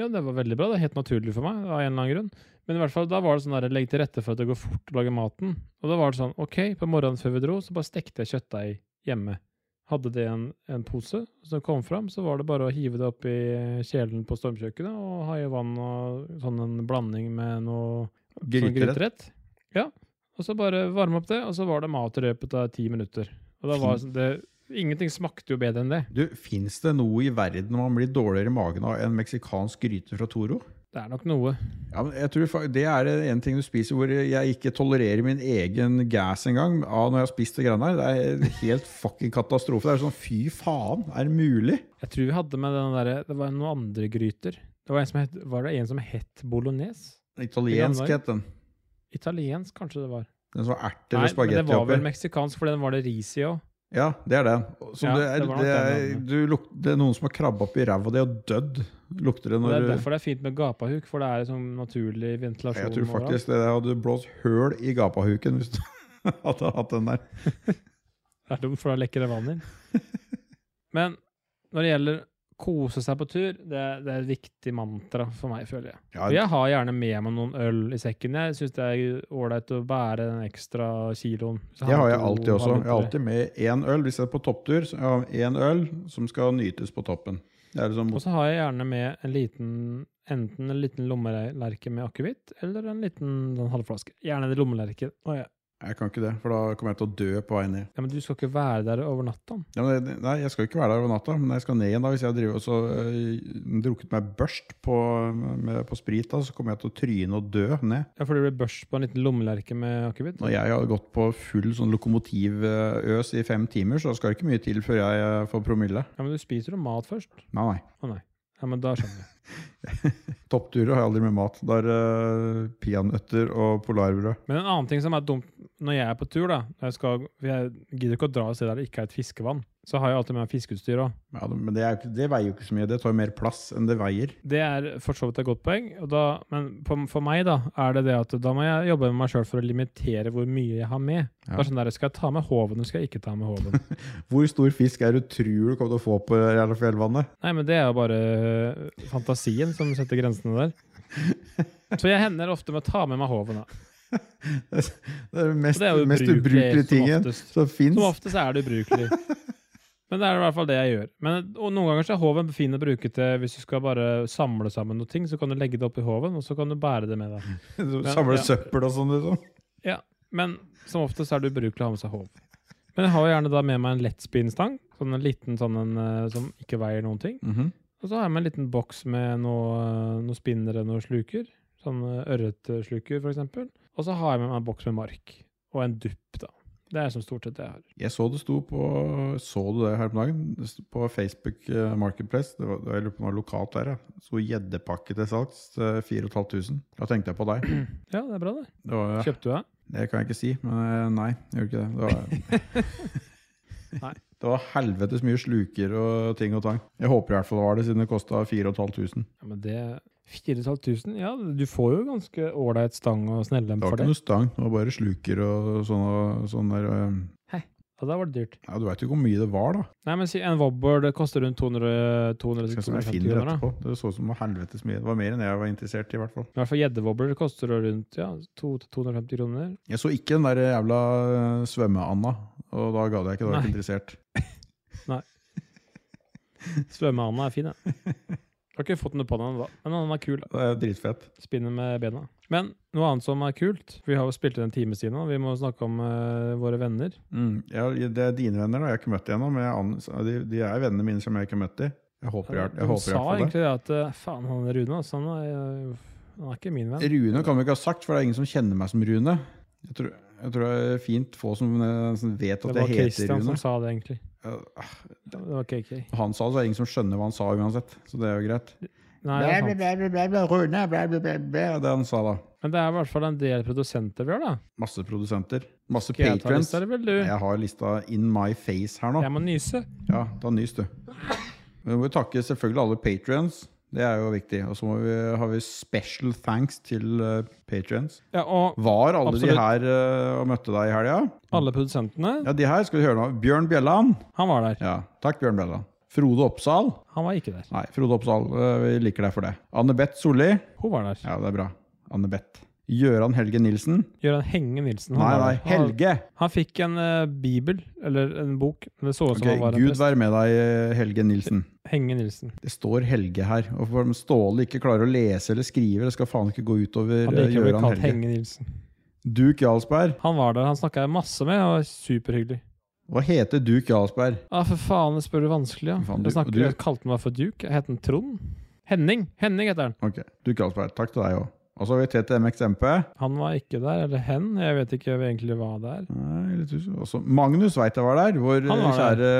Speaker 2: Ja, det var veldig bra. Det er helt naturlig for meg, av en eller annen grunn. Men i hvert fall, da var det sånn der, legg til rette for at det går fort å lage maten. Og da var det sånn, ok, på morgenen før vi dro, så bare stekte jeg kjøttdeig hjemme. Hadde det i en, en pose som kom fram, så var det bare å hive det opp i kjelen på stormkjøkkenet og ha i vann og sånn en blanding med noe sånn
Speaker 1: Gryterett.
Speaker 2: gryterett. Ja. Og så bare varme opp det, og så var det mat i løpet av ti minutter. Og da var sånn- det Ingenting smakte jo bedre enn det.
Speaker 1: Du, Fins det noe i verden man blir dårligere i magen av enn meksikansk gryte fra Toro?
Speaker 2: Det er nok noe.
Speaker 1: Ja, men jeg tror fa- Det er en ting du spiser hvor jeg ikke tolererer min egen gas engang. av Når jeg har spist det greiene der. Det er en helt fucking katastrofe. Det er sånn fy faen, er det mulig?
Speaker 2: Jeg tror vi hadde med den derre Det var noen andre gryter. Det var, en som het, var det en som het bolognese?
Speaker 1: Italiensk het den.
Speaker 2: Italiensk, kanskje det var.
Speaker 1: Den som har erter og
Speaker 2: Nei, men det
Speaker 1: spagetti
Speaker 2: var vel
Speaker 1: oppi.
Speaker 2: meksikansk, for den var det ris i òg.
Speaker 1: Ja, det er den. Som
Speaker 2: Ja,
Speaker 1: det er,
Speaker 2: det var nok
Speaker 1: det er,
Speaker 2: den,
Speaker 1: du luk, det er noen som har krabba opp i ræva di og dødd, lukter det
Speaker 2: Det
Speaker 1: når
Speaker 2: er
Speaker 1: du
Speaker 2: derfor det er fint med gapahuk, for det er liksom naturlig ventilasjon.
Speaker 1: Jeg tror
Speaker 2: overalt.
Speaker 1: faktisk det der hadde blåst høl i gapahuken hvis du hadde hatt den der.
Speaker 2: Det er dumt, for da lekker det vann inn. Men når det gjelder kose seg på tur, det, det er et viktig mantra for meg, føler jeg.
Speaker 1: Ja,
Speaker 2: Og jeg har gjerne med meg noen øl i sekken. Jeg syns det er ålreit å bære den ekstra kiloen. Så
Speaker 1: Det har
Speaker 2: man
Speaker 1: jeg
Speaker 2: to
Speaker 1: alltid også. Jeg har
Speaker 2: halvlitere.
Speaker 1: alltid med én øl hvis jeg er på topptur. Så jeg har én øl som skal nytes på toppen. Det er liksom
Speaker 2: Og så har jeg gjerne med en liten Enten en liten lommelerke med akevitt, eller en liten den halvflaske. Gjerne det lommelerken. Å, ja.
Speaker 1: Jeg kan ikke det, for da kommer jeg til å dø på vei ned.
Speaker 2: ja, men du skal ikke være der over natta.
Speaker 1: Ja, men det, nei, jeg skal ikke være der over natta, men jeg skal ned igjen da hvis jeg driver og så øh, drukket meg børst på, med, på sprit. da, Så kommer jeg til å tryne og dø ned.
Speaker 2: Ja, for det blir børs på en liten lommelerke med akevitt.
Speaker 1: Når jeg har gått på full sånn lokomotivøs i fem timer, så skal det ikke mye til før jeg øh, får promille.
Speaker 2: Ja, men du spiser jo mat først.
Speaker 1: Nei, nei.
Speaker 2: Å nei. Ja, men da skjønner jeg.
Speaker 1: Toppturer har jeg aldri med mat. Da er det øh, peanøtter og polarbrød.
Speaker 2: Men en annen ting som er dumt når jeg er på tur, da når jeg, skal, for jeg gidder ikke å dra et sted der det ikke er et fiskevann. Så har jeg alltid med meg fiskeutstyr òg.
Speaker 1: Ja, det- men det, er, jo ikke- det veier jo ikke så mye. Det tar jo mer plass enn det veier.
Speaker 2: Det er for så vidt et godt poeng, og da, men på, for meg da er det det at da må jeg jobbe med meg sjøl for å limitere hvor mye jeg har med.
Speaker 1: Ja.
Speaker 2: Det er sånn der, Skal jeg ta med håven, eller skal jeg ikke ta med håven?
Speaker 1: Hvor stor fisk er det du tror du kommer til å få på Jærlafjellvannet?
Speaker 2: Nei, men det er jo bare øh, fantasien som setter grensene der. Så jeg hender ofte med å ta med meg håven. da.
Speaker 1: Det er den mest,
Speaker 2: Og det er jo
Speaker 1: mest ubrukelige
Speaker 2: ubrukelig som
Speaker 1: tingen
Speaker 2: oftest.
Speaker 1: som
Speaker 2: Som
Speaker 1: fins.
Speaker 2: ofte så er det ubrukelig. Men det er i hvert fall det jeg gjør. Men, og noen ganger så er håven fin å bruke til hvis du skal bare samle sammen noe ting, så kan du legge det oppi håven, og så kan du bære det med deg.
Speaker 1: Samle
Speaker 2: Ja.
Speaker 1: søppel og sånn. Liksom.
Speaker 2: Men som ofte så er det ubrukelig å ha med seg håv. Men jeg har jo gjerne da med meg en lettspinnstang, sånn en liten sånn en eh, som ikke veier noen ting. Og så har jeg med en liten boks med noe, noe spinnere, noen sluker, sånn eh, ørretsluker for eksempel. Og så har jeg med meg en boks med mark, og en dupp da. Det er som stort sett det jeg har.
Speaker 1: Jeg så det sto på Så du det her på dagen? Det sto På Facebook eh, Marketplace. Det var, det var- jeg lurer på noe lokalt der. ja. Det sto gjeddepakke til salgs. eh, 4500. Da tenkte jeg på deg.
Speaker 2: Ja, det er bra det.
Speaker 1: Det, var,
Speaker 2: Kjøpte du det?
Speaker 1: det kan jeg ikke si, men eh, nei. Jeg gjorde ikke det. Det
Speaker 2: Nei.
Speaker 1: var, det var helvetes mye sluker og ting og tang. Jeg håper i hvert fall det var det, siden det kosta 4500.
Speaker 2: Ja, men det 4500? Ja, du får jo ganske ålreit stang og snellem
Speaker 1: Det var
Speaker 2: for
Speaker 1: ikke
Speaker 2: det.
Speaker 1: noe stang, det var bare sluker og sånne, sånne der, eh,
Speaker 2: Ja, det var det dyrt.
Speaker 1: Ja, du veit jo ikke hvor mye det var, da.
Speaker 2: Nei, men si en wobber det koster rundt 200 200
Speaker 1: Skal se om jeg
Speaker 2: 250
Speaker 1: finner det
Speaker 2: kroner. da.
Speaker 1: etterpå. Det så ut som noe helvetes mye. Det var mer enn jeg var interessert i, i hvert fall.
Speaker 2: I hvert fall gjeddewobber koster det rundt ja, 200-250 kroner.
Speaker 1: Jeg så ikke den der jævla eh, svømme-Anna, og da gadd jeg ikke. Da var jeg
Speaker 2: Nei.
Speaker 1: ikke interessert.
Speaker 2: Svømmehanda er fin, ja. Jeg har ikke fått noe på den ennå, men den er kul. da.
Speaker 1: Det er dritfett.
Speaker 2: Spinner med bena. Men noe annet som er kult for Vi har jo spilt inn en time siden, og vi må snakke om eh, våre venner.
Speaker 1: Mm. Jeg, det er dine venner, da. Jeg har ikke møtt dem ennå. Men jeg, an- de, de er vennene mine som jeg ikke har møtt dem. Jeg håper i hvert jeg
Speaker 2: De
Speaker 1: håper i
Speaker 2: sa
Speaker 1: hvert fall det.
Speaker 2: egentlig det at eh, faen, han Rune altså, han, er, eh, han er ikke min venn.
Speaker 1: Rune kan vi ikke ha sagt, for det er ingen som kjenner meg som Rune. Jeg tror, jeg tror det er fint få som, eh, som vet
Speaker 2: Det
Speaker 1: at
Speaker 2: var
Speaker 1: jeg heter
Speaker 2: Christian
Speaker 1: Rune.
Speaker 2: som sa det, egentlig.
Speaker 1: Ja,
Speaker 2: Det var KK.
Speaker 1: Han sa det, så er det ingen som skjønner hva han sa uansett. Så det er jo greit.
Speaker 2: Nei,
Speaker 1: Blæ, blæ,
Speaker 2: det er sant.
Speaker 1: blæ, blæ, blæ, blæ, Rune, blæ, blæ, blæ, blæ, det han sa da.
Speaker 2: Men det er i hvert fall en del produsenter vi har, da.
Speaker 1: Masse produsenter. Masse
Speaker 2: Skal jeg ta
Speaker 1: patrons.
Speaker 2: lista, eller vil du?
Speaker 1: Jeg har lista in my face her nå.
Speaker 2: Jeg må nyse.
Speaker 1: Ja, da nys du. Vi må jo takke selvfølgelig alle patrions. Det er jo viktig. Og så må vi- har vi special thanks til uh, patrions.
Speaker 2: Ja, og
Speaker 1: Var alle de
Speaker 2: Absolutt.
Speaker 1: her eh, og møtte deg i helga?
Speaker 2: alle produsentene,
Speaker 1: Ja, de her skal du høre nå. Bjørn Bjelland.
Speaker 2: han var der.
Speaker 1: Ja, takk Bjørn Bjelland. Frode Oppsal.
Speaker 2: Han var ikke der.
Speaker 1: Nei, Frode Oppsal, eh, vi liker deg for det. Anne Beth Solli.
Speaker 2: Hun var der.
Speaker 1: Ja, det er bra. Anne Beth. Gøran Helge Nilsen.
Speaker 2: Gøran Henge Nilsen. han
Speaker 1: Nei,
Speaker 2: var
Speaker 1: nei,
Speaker 2: der. Han-
Speaker 1: Helge.
Speaker 2: Han fikk en eh, bibel, eller en bok. Det så ut som
Speaker 1: Ok,
Speaker 2: han var en
Speaker 1: Gud
Speaker 2: prest.
Speaker 1: være med deg, eh, Helge Nilsen.
Speaker 2: Henge Nilsen.
Speaker 1: Det står Helge her. Og for om Ståle ikke klarer å lese eller skrive, det skal faen ikke gå utover
Speaker 2: Han
Speaker 1: eh,
Speaker 2: liker å bli
Speaker 1: Gøran
Speaker 2: kalt
Speaker 1: Helge.
Speaker 2: Henge Nilsen.
Speaker 1: Duke Jarlsberg.
Speaker 2: Han var der, han snakka jeg masse med, og var superhyggelig.
Speaker 1: Hva heter Duke Jarlsberg?
Speaker 2: Ja, for faen, jeg spør du vanskelig, ja.
Speaker 1: Faen, du-
Speaker 2: jeg, snakker,
Speaker 1: du-
Speaker 2: jeg kalte meg for Duke. Jeg het han Trond. Henning. Henning heter han.
Speaker 1: Ok, Duke Jarlsberg. Takk til deg òg. Og så har vi TTMXMP.
Speaker 2: Han var ikke der, eller hen. Jeg vet ikke egentlig hva det er.
Speaker 1: Nei, litt usikker. Også Magnus veit jeg var der. Vår
Speaker 2: Han var
Speaker 1: kjære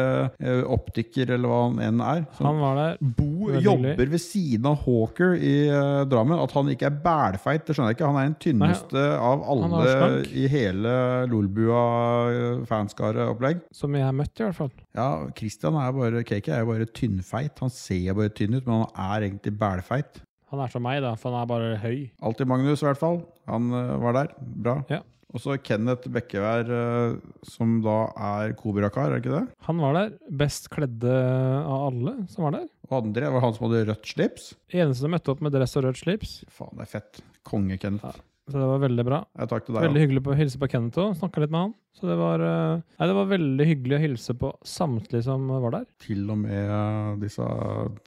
Speaker 1: eh, optiker, eller hva han enn er. Som
Speaker 2: Han var der.
Speaker 1: Bo
Speaker 2: Veldig
Speaker 1: jobber
Speaker 2: hyggelig.
Speaker 1: ved siden av Hawker i eh, Drammen. At han ikke er bælfeit, det skjønner jeg ikke. Han er den tynneste av
Speaker 2: han
Speaker 1: alle
Speaker 2: er slank.
Speaker 1: i hele Lolbua-fanskare-opplegg. som
Speaker 2: Som jeg har møtt, i hvert fall.
Speaker 1: Ja, Christian er bare, KK er jo bare tynnfeit. Han ser bare tynn ut, men han er egentlig bælfeit.
Speaker 2: Han er som meg, da, for han er bare høy.
Speaker 1: Alltid Magnus, i hvert fall. Han eh, var der. Bra.
Speaker 2: Ja.
Speaker 1: Og så Kenneth Bekkevær, eh, som da er Kobrakar, er det ikke det?
Speaker 2: Han var der. Best kledde av alle som var der.
Speaker 1: Og André var han som hadde rødt slips.
Speaker 2: Eneste som møtte opp med dress og rødt slips.
Speaker 1: Faen, det er fett. Konge-Kenneth.
Speaker 2: Ja. Så det var veldig bra.
Speaker 1: Jeg Takk til deg.
Speaker 2: Veldig hyggelig på å hilse på Kenneth òg. Snakka litt med han. Så det var, eh, nei, det var veldig hyggelig å hilse på samtlige som var der.
Speaker 1: Til og med eh, disse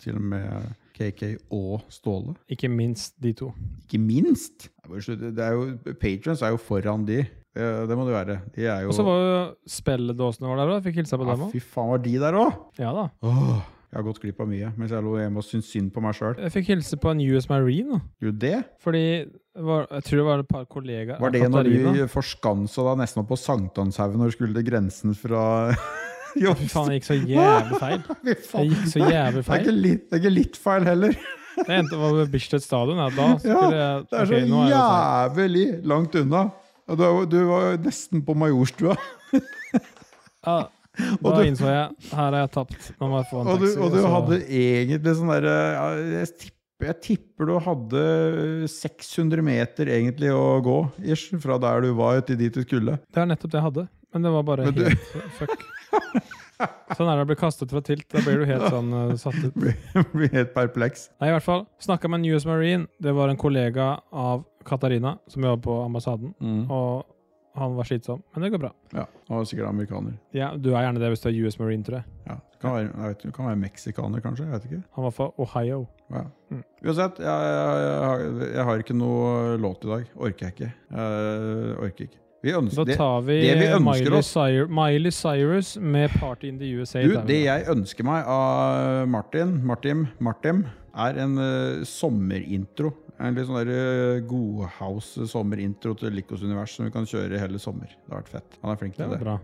Speaker 1: Til og med KK og Ståle.
Speaker 2: Ikke minst de to.
Speaker 1: Ikke minst! Det er bare slutt- Det er jo, patrons er jo foran de. Det, det må det være. De er jo
Speaker 2: Og så var jo spilledåsene var der òg. Fikk hilsa på
Speaker 1: ja,
Speaker 2: dem òg.
Speaker 1: Fy faen, var de der òg?
Speaker 2: Ja da.
Speaker 1: Jeg har gått glipp av mye mens jeg lå hjemme og syntes synd på meg sjøl.
Speaker 2: Jeg fikk hilse på en US Marine. da.
Speaker 1: Gjorde det?
Speaker 2: Fordi det var, jeg tror det var et par kollegaer
Speaker 1: Var det når du forskansa deg nesten opp på Sankthanshaugen når du skulle til grensen fra jobb?
Speaker 2: Fy faen, jeg gikk så jævlig feil.
Speaker 1: Fy
Speaker 2: Jeg
Speaker 1: faen.
Speaker 2: gikk så jævlig
Speaker 1: Det er,
Speaker 2: feil.
Speaker 1: ikke litt, det er ikke litt feil heller.
Speaker 2: Jeg endte opp ved Bislett stadion. Ja, da skulle jeg
Speaker 1: Det er
Speaker 2: ok,
Speaker 1: så
Speaker 2: nå jeg også-
Speaker 1: jævlig langt unna. Og Du, du var jo nesten på Majorstua.
Speaker 2: ja,
Speaker 1: Og
Speaker 2: Da
Speaker 1: du-
Speaker 2: innså jeg her har jeg tapt. Nå må jeg få en
Speaker 1: Og du,
Speaker 2: taxi. altså.
Speaker 1: og du
Speaker 2: så-
Speaker 1: hadde egentlig sånn derre jeg, tipper- jeg tipper du hadde 600 meter egentlig å gå ish, fra der du var, til dit du skulle.
Speaker 2: Det er nettopp det jeg hadde, men det var bare
Speaker 1: Men du-
Speaker 2: helt fuck. Sånn er det å bli kastet fra tilt. Da blir du helt sånn eh, satt ut.
Speaker 1: Blir helt perpleks.
Speaker 2: Nei, i hvert fall. Snakka med en US Marine. Det var en kollega av Katarina som jobber på ambassaden. Og han var slitsom, men det går bra.
Speaker 1: Ja, Han var sikkert amerikaner.
Speaker 2: Ja, Du er gjerne det hvis du er US Marine, tror jeg.
Speaker 1: Ja, det kan være, jeg vet, ikke, det kan være meksikaner, kanskje. Jeg vet ikke.
Speaker 2: Han var fra Ohio.
Speaker 1: Ja.
Speaker 2: Mm.
Speaker 1: Uansett, jeg, jeg, jeg, har- jeg har ikke noe låt i dag. Orker jeg ikke. Jeg orker ikke. Vi
Speaker 2: Da
Speaker 1: ønsker, det,
Speaker 2: tar vi,
Speaker 1: det vi ønsker
Speaker 2: Miley,
Speaker 1: oss-
Speaker 2: Cyrus, Miley Cyrus med 'Party in the USA'.
Speaker 1: Du,
Speaker 2: der.
Speaker 1: det jeg ønsker meg av Martin, Martin, Martin, er en eh, sommerintro. En litt sånn der eh, Godhouse-sommerintro til Likos univers som vi kan kjøre hele sommer. Det har vært fett. Han er flink
Speaker 2: det
Speaker 1: til
Speaker 2: var
Speaker 1: det.
Speaker 2: bra.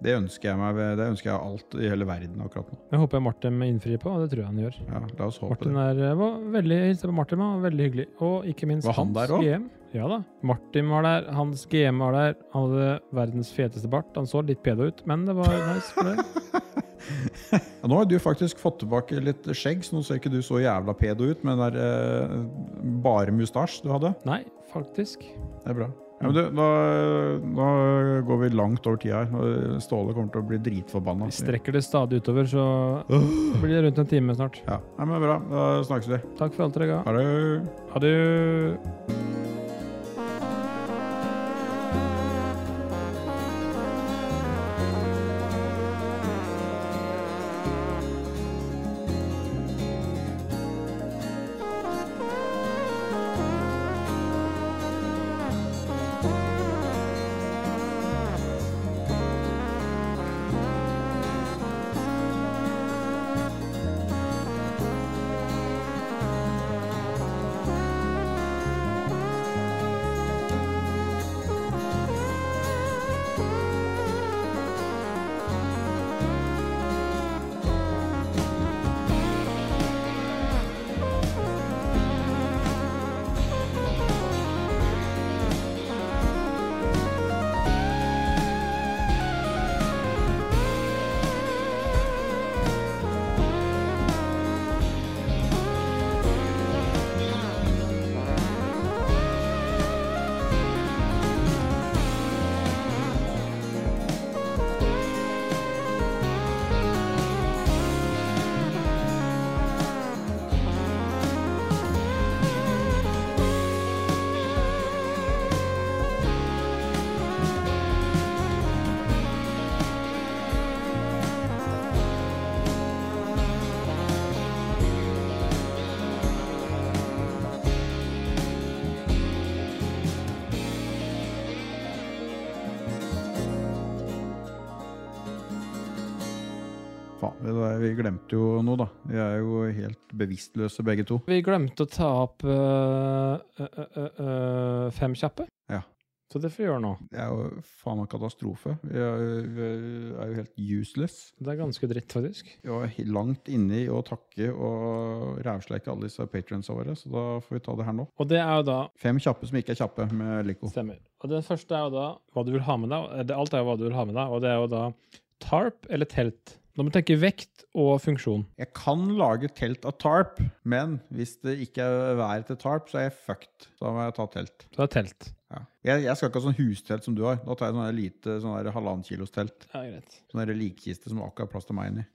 Speaker 1: Det ønsker jeg meg ved- det ønsker jeg alt i hele verden akkurat nå.
Speaker 2: Det håper jeg Martin innfrir på, og det tror jeg han gjør.
Speaker 1: Ja, la oss håpe
Speaker 2: Martin
Speaker 1: det.
Speaker 2: er, eh, var veldig, jeg hilste på Martin, han var veldig hyggelig. Og ikke minst
Speaker 1: Var han
Speaker 2: hans
Speaker 1: der også?
Speaker 2: GM. Ja da. Martin var der, hans GM var der. Han hadde verdens feteste bart. Han så litt pedo ut, men det var nice for det.
Speaker 1: Ja, nå har du faktisk fått tilbake litt skjegg, så nå ser ikke du så jævla pedo ut med den der eh, bare mustasj du hadde.
Speaker 2: Nei, faktisk.
Speaker 1: Det er bra. Ja, men du, da, da går vi langt over tida her. og Ståle kommer til å bli dritforbanna.
Speaker 2: Vi strekker det stadig utover, så blir det rundt en time snart.
Speaker 1: Ja, Nei, men Bra. Da snakkes vi.
Speaker 2: Takk for alt dere ga.
Speaker 1: Ha det.
Speaker 2: Ha det.
Speaker 1: Faen, det der, vi glemte jo noe, da. Vi er jo helt bevisstløse begge to.
Speaker 2: Vi glemte å ta opp øh, øh, øh, øh, Fem kjappe.
Speaker 1: Ja.
Speaker 2: Så det får vi gjøre nå.
Speaker 1: Det er jo faen meg katastrofe. Vi er, jo- vi er jo helt useless.
Speaker 2: Det er ganske dritt, faktisk.
Speaker 1: Vi var he- langt inne i å takke og rævsleike alle disse patronsa våre, så da får vi ta det her nå.
Speaker 2: Og det er jo da
Speaker 1: Fem kjappe som ikke er kjappe, med Lico.
Speaker 2: Stemmer. Og den første er jo da hva du vil ha med deg. Eh, det- Alt er jo hva du vil ha med deg, og det er jo da tarp eller telt. Da må du tenke vekt og funksjon.
Speaker 1: Jeg kan lage telt av tarp, men hvis det ikke er vær til tarp, så er jeg fucked. Da må jeg ta telt.
Speaker 2: Så det er telt.
Speaker 1: Ja. Jeg, jeg skal ikke ha sånn hustelt som du har. Da tar jeg sånn der lite sånn der halvannen kilos telt.
Speaker 2: Ja, greit.
Speaker 1: Sånn der likkiste som akkurat har plass til meg inni.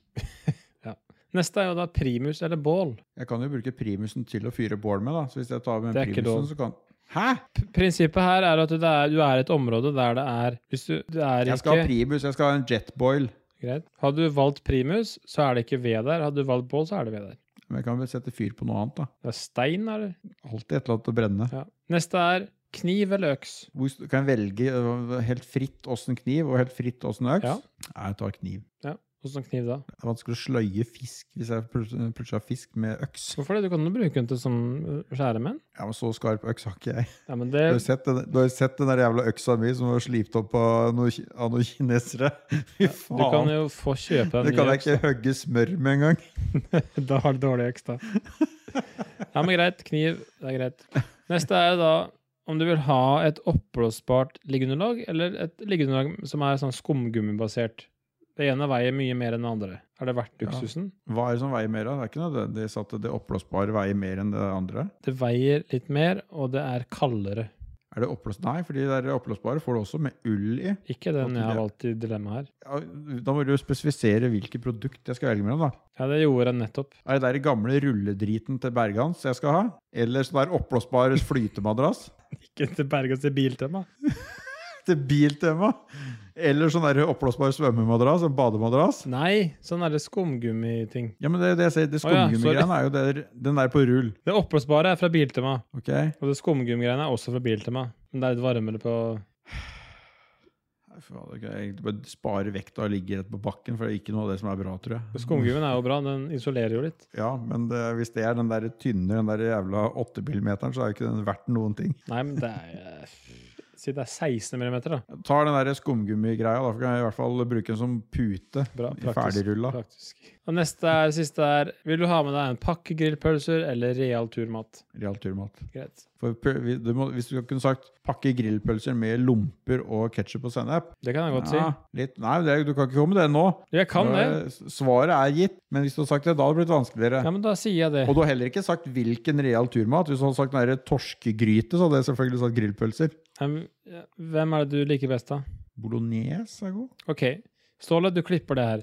Speaker 2: Neste er jo da primus eller bål.
Speaker 1: Jeg kan jo bruke primusen til å fyre bål med, da. Så hvis jeg tar med
Speaker 2: Det er ikke
Speaker 1: primusen, så kan Hæ?!
Speaker 2: P prinsippet her er at du er, du er i et område der det er Hvis du det er
Speaker 1: Jeg skal ha
Speaker 2: ikke
Speaker 1: primus, jeg skal ha en jetboil.
Speaker 2: greit. Hadde du valgt primus, så er det ikke ved der. Hadde du valgt bål, så er det ved der.
Speaker 1: Men jeg kan vel sette fyr på noe annet, da.
Speaker 2: Det er stein, er det?
Speaker 1: Alltid et eller annet å brenne.
Speaker 2: Ja. Neste er kniv eller øks.
Speaker 1: Hvor st- kan jeg velge øh, helt fritt åssen kniv og helt fritt åssen øks?
Speaker 2: Ja.
Speaker 1: Nei, jeg tar kniv.
Speaker 2: Åssen kniv da?
Speaker 1: Det er vanskelig å sløye fisk hvis jeg plut- plutselig har fisk med øks.
Speaker 2: Hvorfor det? Du kan jo bruke den til sånn øh, skjære med den.
Speaker 1: Ja, men Så skarp øks har ikke jeg.
Speaker 2: Ja, men
Speaker 1: Du har jo
Speaker 2: det,
Speaker 1: sett den, du har jo sett den der jævla øksa mi som var slipt opp av noen, ki- av noen kinesere? Fy
Speaker 2: du kan
Speaker 1: faen!
Speaker 2: jo få kjøpe
Speaker 1: Det
Speaker 2: en ny
Speaker 1: kan jeg
Speaker 2: øks.
Speaker 1: ikke hogge smør med engang.
Speaker 2: Da har du dårlig øks, da. Ja, men greit. Kniv, det er greit. Neste er jo da om du vil ha et oppblåsbart liggeunderlag, eller et liggeunderlag som er sånn skumgummibasert. Det ene veier mye mer enn det andre. Er det verdt
Speaker 1: Ja.
Speaker 2: luksusen?
Speaker 1: Hva er det som veier mer? da? Det er ikke nødvendigvis at det oppblåsbare veier mer enn det andre.
Speaker 2: Det veier litt mer, og det er kaldere.
Speaker 1: Er det oppblås... Nei, for de der oppblåsbare får du også med ull i.
Speaker 2: Ikke den jeg har
Speaker 1: Ja.
Speaker 2: valgt i dilemmaet her.
Speaker 1: Ja, Da må du jo spesifisere hvilket produkt jeg skal velge mellom. da.
Speaker 2: Ja, det gjorde jeg nettopp.
Speaker 1: Er det der gamle rulledriten til Berghans jeg skal ha? Eller sånn der oppblåsbar flytemadrass?
Speaker 2: Ikke til Bergens i Biltema.
Speaker 1: til biltema. Eller sånn der oppblåsbar svømmemadrass, en bademadrass.
Speaker 2: Nei, sånn er det skumgummiting.
Speaker 1: Ja, men det, det jeg sier, det
Speaker 2: Å ja,
Speaker 1: skumgummigreiene er jo der, den der på rull.
Speaker 2: Det oppblåsbare er fra Biltema,
Speaker 1: Ok?
Speaker 2: og det skumgummigreiene er også fra Biltema. Men det er litt varmere på
Speaker 1: Nei, fy faen, det kan Jeg egentlig bare spare vekta og ligge rett på bakken, for det er ikke noe av det som er bra, tror jeg.
Speaker 2: Skumgummien er jo bra, den isolerer jo litt.
Speaker 1: Ja, men det, hvis det er den der tynne, den der jævla 8 millimeteren, så er jo ikke den verdt noen ting.
Speaker 2: Nei, men det er eh, Si det er 16 millimeter, da.
Speaker 1: Jeg tar den der skumgummigreia, da for kan jeg i hvert fall bruke den som pute.
Speaker 2: Bra,
Speaker 1: I
Speaker 2: praktisk.
Speaker 1: Ferdigrulla.
Speaker 2: praktisk. Og neste er, siste er Vil du ha med deg en pakke grillpølser eller real turmat?
Speaker 1: Real turmat.
Speaker 2: Greit.
Speaker 1: For pø- vi- du må, hvis du kunne sagt 'pakke grillpølser med lomper og ketsjup og sennep'
Speaker 2: Det kan jeg godt si.
Speaker 1: ja, litt, Nei, det, du kan ikke komme med det nå.
Speaker 2: Jeg kan
Speaker 1: Nå
Speaker 2: det.
Speaker 1: er- Svaret er gitt, men hvis du hadde sagt det, da hadde det blitt vanskeligere.
Speaker 2: Ja, men da sier jeg det.
Speaker 1: Og du har heller ikke sagt hvilken real turmat. Hvis du hadde sagt den der torskegryte, så hadde jeg selvfølgelig sagt grillpølser.
Speaker 2: Em, ja, Hvem er det du liker best, da?
Speaker 1: Bolognese er god.
Speaker 2: OK. Ståle, du klipper det her.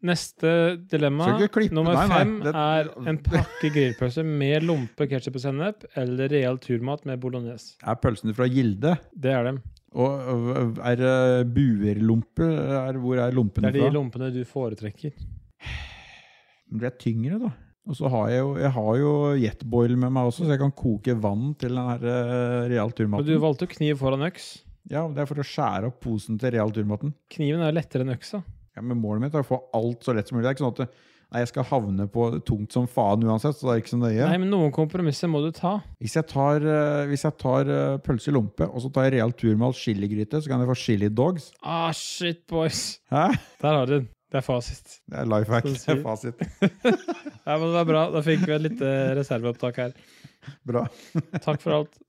Speaker 2: Neste dilemma,
Speaker 1: Skal ikke klippe,
Speaker 2: nummer
Speaker 1: nei, nei,
Speaker 2: fem,
Speaker 1: det-
Speaker 2: er en pakke grillpølse med lompe, ketsjup og sennep eller reell turmat med bolognese.
Speaker 1: Er pølsene fra Gilde?
Speaker 2: Det er dem.
Speaker 1: Og øh, er det buerlompe? Er, hvor er
Speaker 2: Det
Speaker 1: lompene
Speaker 2: er de
Speaker 1: fra?
Speaker 2: lompene du foretrekker.
Speaker 1: De er tyngre, da. Og så har jeg jo, jeg har jo jetboil med meg også, så jeg kan koke vann til den her øh, real
Speaker 2: Men du
Speaker 1: turmaten.
Speaker 2: valgte jo kniv foran øks.
Speaker 1: Ja, det er for å skjære opp posen til real turmaten.
Speaker 2: Kniven er jo lettere enn øksa.
Speaker 1: Ja, men målet mitt er å få alt så lett som mulig. Det er ikke sånn at det- nei, jeg skal havne på tungt som faen uansett, så det er ikke så nøye.
Speaker 2: Nei, men noen kompromisser må du ta.
Speaker 1: Hvis jeg tar, øh, hvis jeg tar øh, pølse i lompe, og så tar jeg real turmat chiligryte, så kan jeg få chili dogs.
Speaker 2: Ah, shit, boys!
Speaker 1: Hæ?
Speaker 2: Der har du den. Det er fasit.
Speaker 1: Det er life hack.
Speaker 2: Så
Speaker 1: Det er
Speaker 2: sykt.
Speaker 1: fasit.
Speaker 2: Ja, men det var bra. Da fikk vi et lite reserveopptak her.
Speaker 1: Bra.
Speaker 2: Takk for alt.